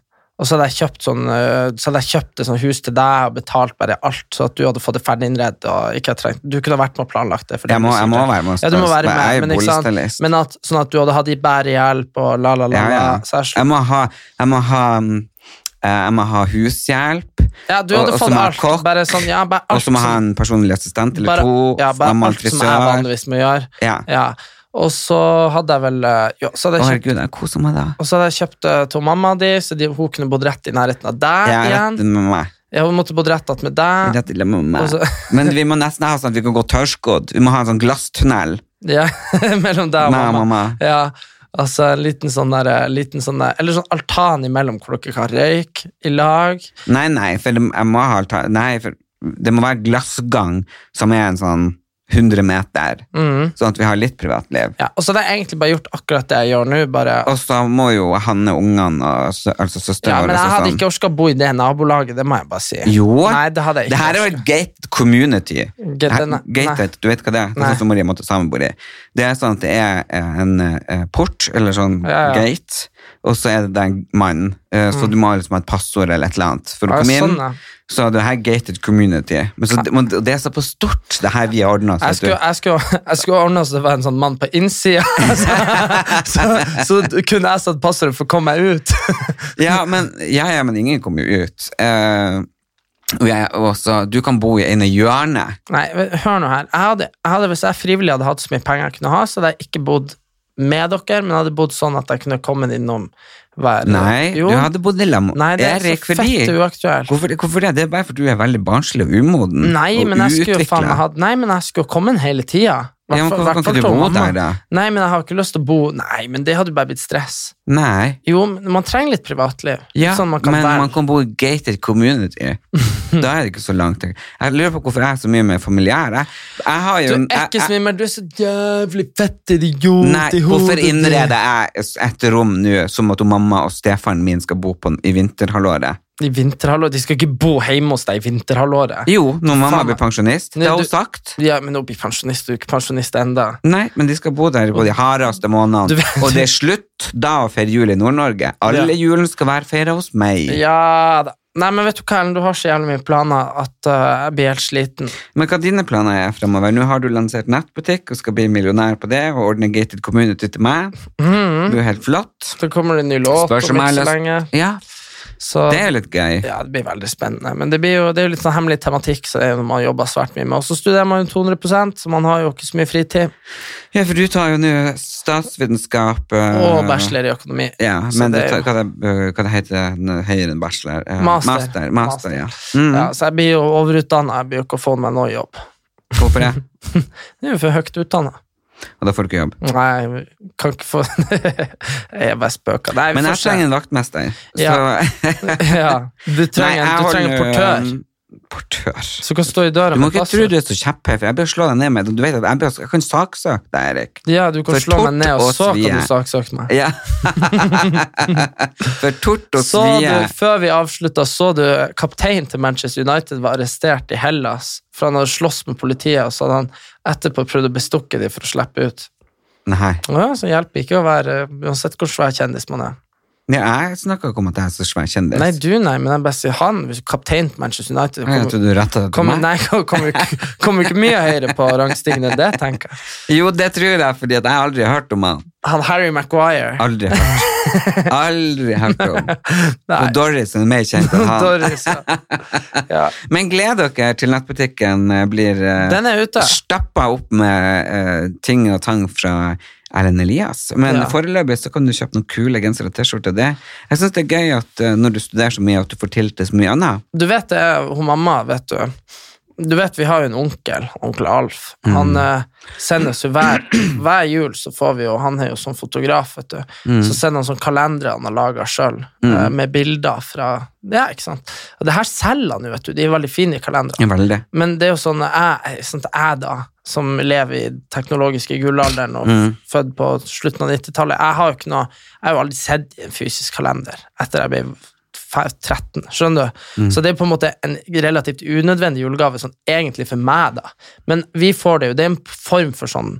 Speaker 2: og så hadde jeg kjøpt sånn eh, Så hadde jeg kjøpt et sånt hus til deg og betalt bare alt, så at du hadde fått det ferdig innredet. Og ikke hadde trengt, du kunne vært med og planlagt det. for det
Speaker 1: Jeg må,
Speaker 2: blir
Speaker 1: jeg må
Speaker 2: sikkert-
Speaker 1: være med.
Speaker 2: ja, du må være
Speaker 1: Jeg
Speaker 2: med,
Speaker 1: er
Speaker 2: men, ikke sant?
Speaker 1: boligstylist.
Speaker 2: men at, sånn at du hadde hatt i bærehjelp og la, la, la.
Speaker 1: Ja, ja.
Speaker 2: la. Så jeg,
Speaker 1: Jeg må ha, jeg må ha, mm, eh, jeg må ha hushjelp,
Speaker 2: Ja, du
Speaker 1: Og-
Speaker 2: hadde
Speaker 1: og så
Speaker 2: fått
Speaker 1: må jeg
Speaker 2: alt.
Speaker 1: kokk,
Speaker 2: Bare sånn, ja, bare alt
Speaker 1: og så må jeg ha
Speaker 2: som-
Speaker 1: en personlig assistent eller
Speaker 2: bare,
Speaker 1: to.
Speaker 2: ja, bare
Speaker 1: jeg må ha en
Speaker 2: alt som jeg
Speaker 1: frisør.
Speaker 2: vanligvis må gjøre.
Speaker 1: Ja.
Speaker 2: Ja. Og så hadde jeg vel eh, ja, så
Speaker 1: Å,
Speaker 2: hadde jeg kjøpt,
Speaker 1: herregud, jeg koser meg da.
Speaker 2: Og så hadde jeg kjøpt eh, til mamma di, så de, hun kunne bodd rett i nærheten av deg
Speaker 1: Jeg er rett
Speaker 2: igjen.
Speaker 1: med meg.
Speaker 2: Ja, hun måtte bodd rett att med
Speaker 1: Det er
Speaker 2: deg.
Speaker 1: et dilemma med meg.
Speaker 2: Og så- (laughs)
Speaker 1: Men vi må nesten ha sånn at vi kan gå tørrskodd. Vi må ha en sånn glasstunnel.
Speaker 2: Ja, (laughs) mellom deg og
Speaker 1: Nei,
Speaker 2: mamma.
Speaker 1: mamma.
Speaker 2: Ja, altså en liten sånn der, eh, liten sånn der Eller sånn altan imellom hvor dere kan røyke i lag.
Speaker 1: Nei, nei, for det, jeg må ha alta- Nei, for det må være glassgang som er en sånn 100 meter,
Speaker 2: Mhm.
Speaker 1: sånn at vi har litt privatliv.
Speaker 2: Ja, og så hadde jeg egentlig bare gjort akkurat det jeg gjør nå. bare...
Speaker 1: Og så må jo Hanne ungene, og sø- altså søstera
Speaker 2: Ja,
Speaker 1: vår
Speaker 2: men
Speaker 1: og
Speaker 2: jeg hadde
Speaker 1: sånn.
Speaker 2: ikke orska å bo i det nabolaget, det må jeg bare si.
Speaker 1: Jo.
Speaker 2: Nei, det hadde jeg
Speaker 1: Det
Speaker 2: ikke.
Speaker 1: her er jo
Speaker 2: orket.
Speaker 1: et gated community.
Speaker 2: Gated,
Speaker 1: Her-
Speaker 2: nei.
Speaker 1: gated, du vet hva det er? Det
Speaker 2: Nei.
Speaker 1: er sånn som Maria Montesame bor i. Det er sånn at det er eh, en eh, port, eller sånn
Speaker 2: Ja, ja.
Speaker 1: gate, og så er det den mannen. Eh, Så du må liksom ha et passord eller et eller annet for å
Speaker 2: Ja,
Speaker 1: komme inn.
Speaker 2: sånn, ja.
Speaker 1: Så det her er gated community. Men så, men det er såpass stort, det her vi har ordna.
Speaker 2: Jeg skulle, jeg, skulle, jeg skulle ordne så det var en sånn mann på innsida, (laughs) så, så, så kunne jeg satt passordet for å komme meg ut. (laughs)
Speaker 1: Ja, men, ja, ja, men ingen kommer jo ut. Eh, og jeg, og så- du kan bo i ene hjørnet.
Speaker 2: Nei, men hør nå her. Jeg hadde, jeg hadde, hvis jeg frivillig hadde hatt så mye penger jeg kunne ha, så hadde jeg ikke bodd med dere, men jeg hadde bodd sånn at jeg kunne kommet innom hver
Speaker 1: Nei,
Speaker 2: Jo.
Speaker 1: du hadde bodd i lag med
Speaker 2: Nei, det er
Speaker 1: Erik
Speaker 2: så
Speaker 1: fordi
Speaker 2: fett uaktuelt.
Speaker 1: Hvorfor, hvorfor det? Det er bare fordi du er veldig barnslig og umoden.
Speaker 2: Nei,
Speaker 1: og
Speaker 2: men jeg skulle jo
Speaker 1: uutviklet.
Speaker 2: faen meg hatt Nei, men jeg skulle jo kommet hele tida.
Speaker 1: Ja, men hvorfor kan ikke du bo der, da?
Speaker 2: Nei, men jeg har ikke lyst til å bo Nei, men det hadde bare blitt stress.
Speaker 1: Nei.
Speaker 2: Jo, men man trenger litt privatliv.
Speaker 1: Ja,
Speaker 2: sånn man kan
Speaker 1: men
Speaker 2: være.
Speaker 1: man kan bo i gated community.
Speaker 2: (laughs)
Speaker 1: da er det ikke så langt. Jeg lurer på hvorfor jeg er så mye mer familiær. Jeg, jeg har jo
Speaker 2: Du
Speaker 1: jeg-
Speaker 2: er ikke
Speaker 1: jeg-
Speaker 2: svimmel, du er så jævlig fett idiot
Speaker 1: Nei,
Speaker 2: i hodet.
Speaker 1: hvorfor
Speaker 2: ditt.
Speaker 1: innreder jeg et rom nå som at mamma og stefaren min skal bo på i vinterhalvåret?
Speaker 2: I vinterhalvåret, De skal ikke bo hjemme hos deg i vinterhalvåret.
Speaker 1: Jo, når mamma
Speaker 2: Faen.
Speaker 1: blir pensjonist. Det
Speaker 2: Nei,
Speaker 1: har hun
Speaker 2: du-
Speaker 1: sagt.
Speaker 2: Ja, men nå blir pensjonist, du er ikke pensjonist enda.
Speaker 1: Nei, men de skal bo der på de hardeste
Speaker 2: Du
Speaker 1: månedene.
Speaker 2: vet-
Speaker 1: Og det er slutt da å feire jul i Nord-Norge. Alle julen skal være feira hos meg.
Speaker 2: Ja da. Nei, men vet du hva, Ellen, du har så jævlig mye planer at eh, jeg blir helt sliten.
Speaker 1: Men hva dine planer er fremover? Nå har du lansert nettbutikk og skal bli millionær på det, og ordne gated community til meg.
Speaker 2: Mhm.
Speaker 1: Det er jo helt flott.
Speaker 2: Så kommer det en ny låt
Speaker 1: Spørs
Speaker 2: om
Speaker 1: om jeg har
Speaker 2: ikke så
Speaker 1: lyst-
Speaker 2: lenge.
Speaker 1: Ja,
Speaker 2: Så
Speaker 1: det er litt gøy.
Speaker 2: ja, det blir veldig spennende. Men det, blir jo, det er jo litt sånn hemmelig tematikk, så det er jo noe man jobber svært mye med. Og så studerer man jo 200 så man har jo ikke så mye fritid.
Speaker 1: Ja, for du tar jo nå statsvitenskap eh,
Speaker 2: Og bachelor i økonomi.
Speaker 1: Ja,
Speaker 2: Så
Speaker 1: men det,
Speaker 2: det er jo-
Speaker 1: hva, det, eh, hva det heter det høyere enn bachelor? Eh,
Speaker 2: Master.
Speaker 1: Master, master, ja. Mm.
Speaker 2: Ja, så jeg blir jo overutdanna. Jeg blir jo ikke å få meg noe jobb.
Speaker 1: Hvorfor det?
Speaker 2: Det er jo for høyt utdanna.
Speaker 1: Og da får du ikke jobb.
Speaker 2: Nei, jeg kan ikke få (laughs) Jeg bare spøker. Nei, vi
Speaker 1: Men
Speaker 2: får
Speaker 1: jeg
Speaker 2: se.
Speaker 1: trenger en vaktmester. Så
Speaker 2: Ja. (laughs) ja, Du trenger,
Speaker 1: Nei, jeg
Speaker 2: du trenger en
Speaker 1: holder,
Speaker 2: portør
Speaker 1: eh, Portør.
Speaker 2: som kan stå i døra
Speaker 1: Du må
Speaker 2: med
Speaker 1: ikke
Speaker 2: passet.
Speaker 1: tro du er så kjepphøy, for jeg bør slå deg ned med det. Du vet at jeg, bør, jeg kan saksøke deg, Erik.
Speaker 2: Ja, du kan
Speaker 1: For
Speaker 2: slå meg
Speaker 1: tort
Speaker 2: ned, og
Speaker 1: og
Speaker 2: så
Speaker 1: svie.
Speaker 2: kan du saksøke meg.
Speaker 1: Ja. (laughs) For tort og
Speaker 2: Så du,
Speaker 1: svie.
Speaker 2: før vi avslutta, så du kapteinen til Manchester United var arrestert i Hellas. For han hadde slåss med politiet, og så hadde han etterpå prøvd å bestukke dem for å slippe ut.
Speaker 1: Nei.
Speaker 2: Ja, Så hjelper ikke å være Uansett hvor svær kjendis man er.
Speaker 1: Ja, jeg snakker ikke om at jeg er så svær kjendis.
Speaker 2: Nei, du, nei, men jeg bare sier han. hvis Kapteinen til Manchester United.
Speaker 1: Ja, jeg
Speaker 2: kommer-
Speaker 1: trodde du rettet det til
Speaker 2: Kommer
Speaker 1: meg.
Speaker 2: nei, kommer ikke, (laughs) kommer ikke mye høyere på rangstigen enn det, tenker jeg.
Speaker 1: Jo, det tror jeg, fordi at jeg aldri har hørt om han.
Speaker 2: Han Harry Maguire.
Speaker 1: Aldri hørt.
Speaker 2: (laughs)
Speaker 1: Aldri hørt om. Og
Speaker 2: Nei.
Speaker 1: Doris er mer kjent enn han.
Speaker 2: (laughs) Doris, ja. ja.
Speaker 1: Men gled dere til nettbutikken eh, blir eh,
Speaker 2: Den er ute.
Speaker 1: stappa opp med eh, ting og tang fra Erlend Elias. Men
Speaker 2: Ja.
Speaker 1: foreløpig så kan du kjøpe noen kule gensere og T-skjorter. Det. Jeg syns det er gøy at eh, når du studerer så mye, at du får til til så mye annet.
Speaker 2: Du vet det, er hun mamma, vet du. Du vet, vi har jo en onkel, onkel Alf. Han eh, sender oss jo hver, (clears throat) hver jul, så får vi jo, han er jo sånn fotograf, vet du. Så sender han sånn kalendere han har laga sjøl, med bilder fra Ja, ikke sant. Og det her selger han jo, vet du. De er veldig fine, de kalenderne.
Speaker 1: Ja, Veldig.
Speaker 2: Men det er jo sånn jeg, sånn at jeg da, som lever i den teknologiske gullalderen og født på slutten av 90-tallet, jeg har jo ikke noe, jeg har jo aldri sett i en fysisk kalender etter jeg ble fe- 13, skjønner du? Så det er på en måte en relativt unødvendig julegave, sånn egentlig for meg da. Men vi får det jo, det er en form for sånn,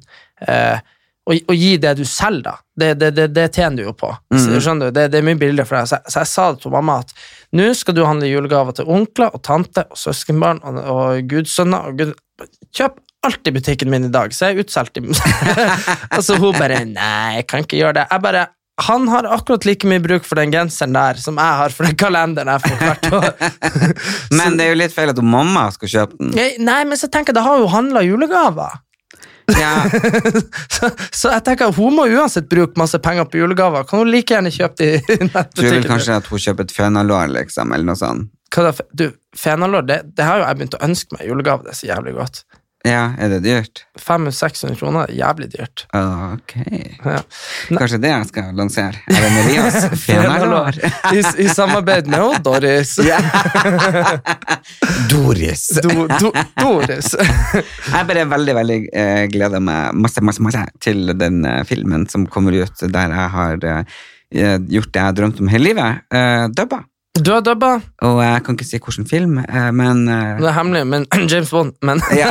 Speaker 2: eh, å, å gi det du selger, da. Det, det, det, det tjener du jo på. Så, skjønner du? Det, det er mye billigere for deg. Så, jeg- så jeg sa det til mamma at nå skal du handle julegaver til onkler og tante og søskenbarn og, og gudsønner. Og gud, kjøp alt i butikken min i dag, så jeg er utsolgt. i- (laughs) og så hun bare Nei, jeg kan ikke gjøre det. Jeg bare han har akkurat like mye bruk for den genseren der som jeg har for den kalenderen jeg får hvert år.
Speaker 1: Men det er jo litt feil at hun mamma skal kjøpe den.
Speaker 2: Jeg- Nei, men så tenker jeg, da har hun handla julegaver.
Speaker 1: (laughs) Ja,
Speaker 2: så, så jeg tenker hun må uansett bruke masse penger på julegaver. Kan hun like gjerne kjøpe de (laughs) i
Speaker 1: tror vel
Speaker 2: nettbutikken?
Speaker 1: kanskje at hun kjøper et fønalår, liksom, eller noe sånt.
Speaker 2: Hva da, fe- Du, fenalår, det, det har jo jeg begynt å ønske meg i julegave. Det er så jævlig godt.
Speaker 1: Ja, er det dyrt?
Speaker 2: 500-600 kroner, jævlig dyrt.
Speaker 1: Ok.
Speaker 2: Ja.
Speaker 1: Kanskje det jeg skal lansere. Erlend Elias, (laughs) fønalår.
Speaker 2: (laughs) I, s- I samarbeid med hun,
Speaker 1: (laughs)
Speaker 2: Doris.
Speaker 1: Doris.
Speaker 2: Do, do, Doris. (laughs)
Speaker 1: Jeg bare veldig, veldig eh, gleder meg masse, masse, masse til den eh, filmen som kommer ut der jeg har eh, gjort det jeg har drømt om hele livet. Eh, dubba.
Speaker 2: Du har dubba.
Speaker 1: Og jeg kan ikke si hvilken film, eh, men eh,
Speaker 2: Det er hemmelig, men (clears throat) James Bond. Men
Speaker 1: ja.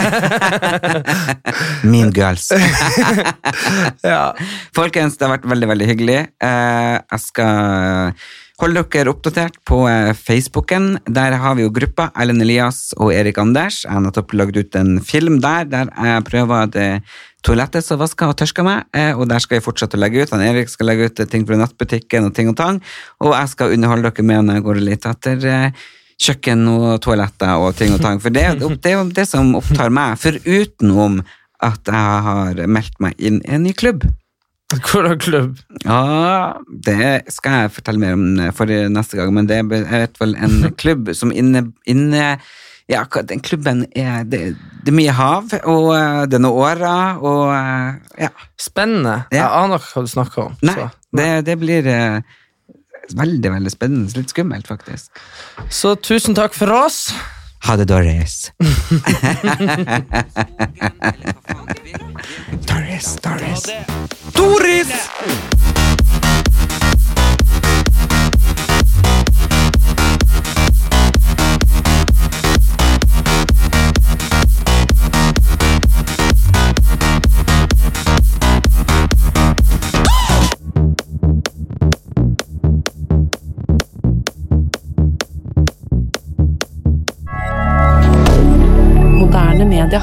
Speaker 1: Mean Girls.
Speaker 2: (laughs) ja.
Speaker 1: Folkens, det har vært veldig, veldig hyggelig. Eh, jeg skal holde dere oppdatert på eh, Facebooken. Der har vi jo gruppa Erlend Elias og Erik Anders. Jeg har nettopp lagd ut en film der der jeg prøver det toalettet som vasker og tørsker meg, eh, og der skal jeg fortsette å legge ut. Han Erik skal legge ut eh, ting fra nettbutikken og ting og tang, og jeg skal underholde dere med når jeg går og leter etter eh, kjøkken og toaletter og ting og tang, for det, er jo- det er jo det som opptar meg, foruten om at jeg har meldt meg inn i en ny klubb.
Speaker 2: Hvordan klubb?
Speaker 1: Ja, det skal jeg fortelle mer om eh, for neste gang, men det er i hvert fall (laughs) en klubb som inne, inne Ja, hva- den klubben er det, det er mye hav, og eh, det er noen årer, og eh, Ja.
Speaker 2: Spennende. Jeg
Speaker 1: Ja.
Speaker 2: aner ikke hva du snakker om.
Speaker 1: Nei,
Speaker 2: så.
Speaker 1: det, det blir eh, veldig, veldig spennende. Litt skummelt, faktisk.
Speaker 2: så tusen takk for oss.
Speaker 1: Ha det, (laughs) Doris. Doris, Doris. Doris!
Speaker 3: Moderne media.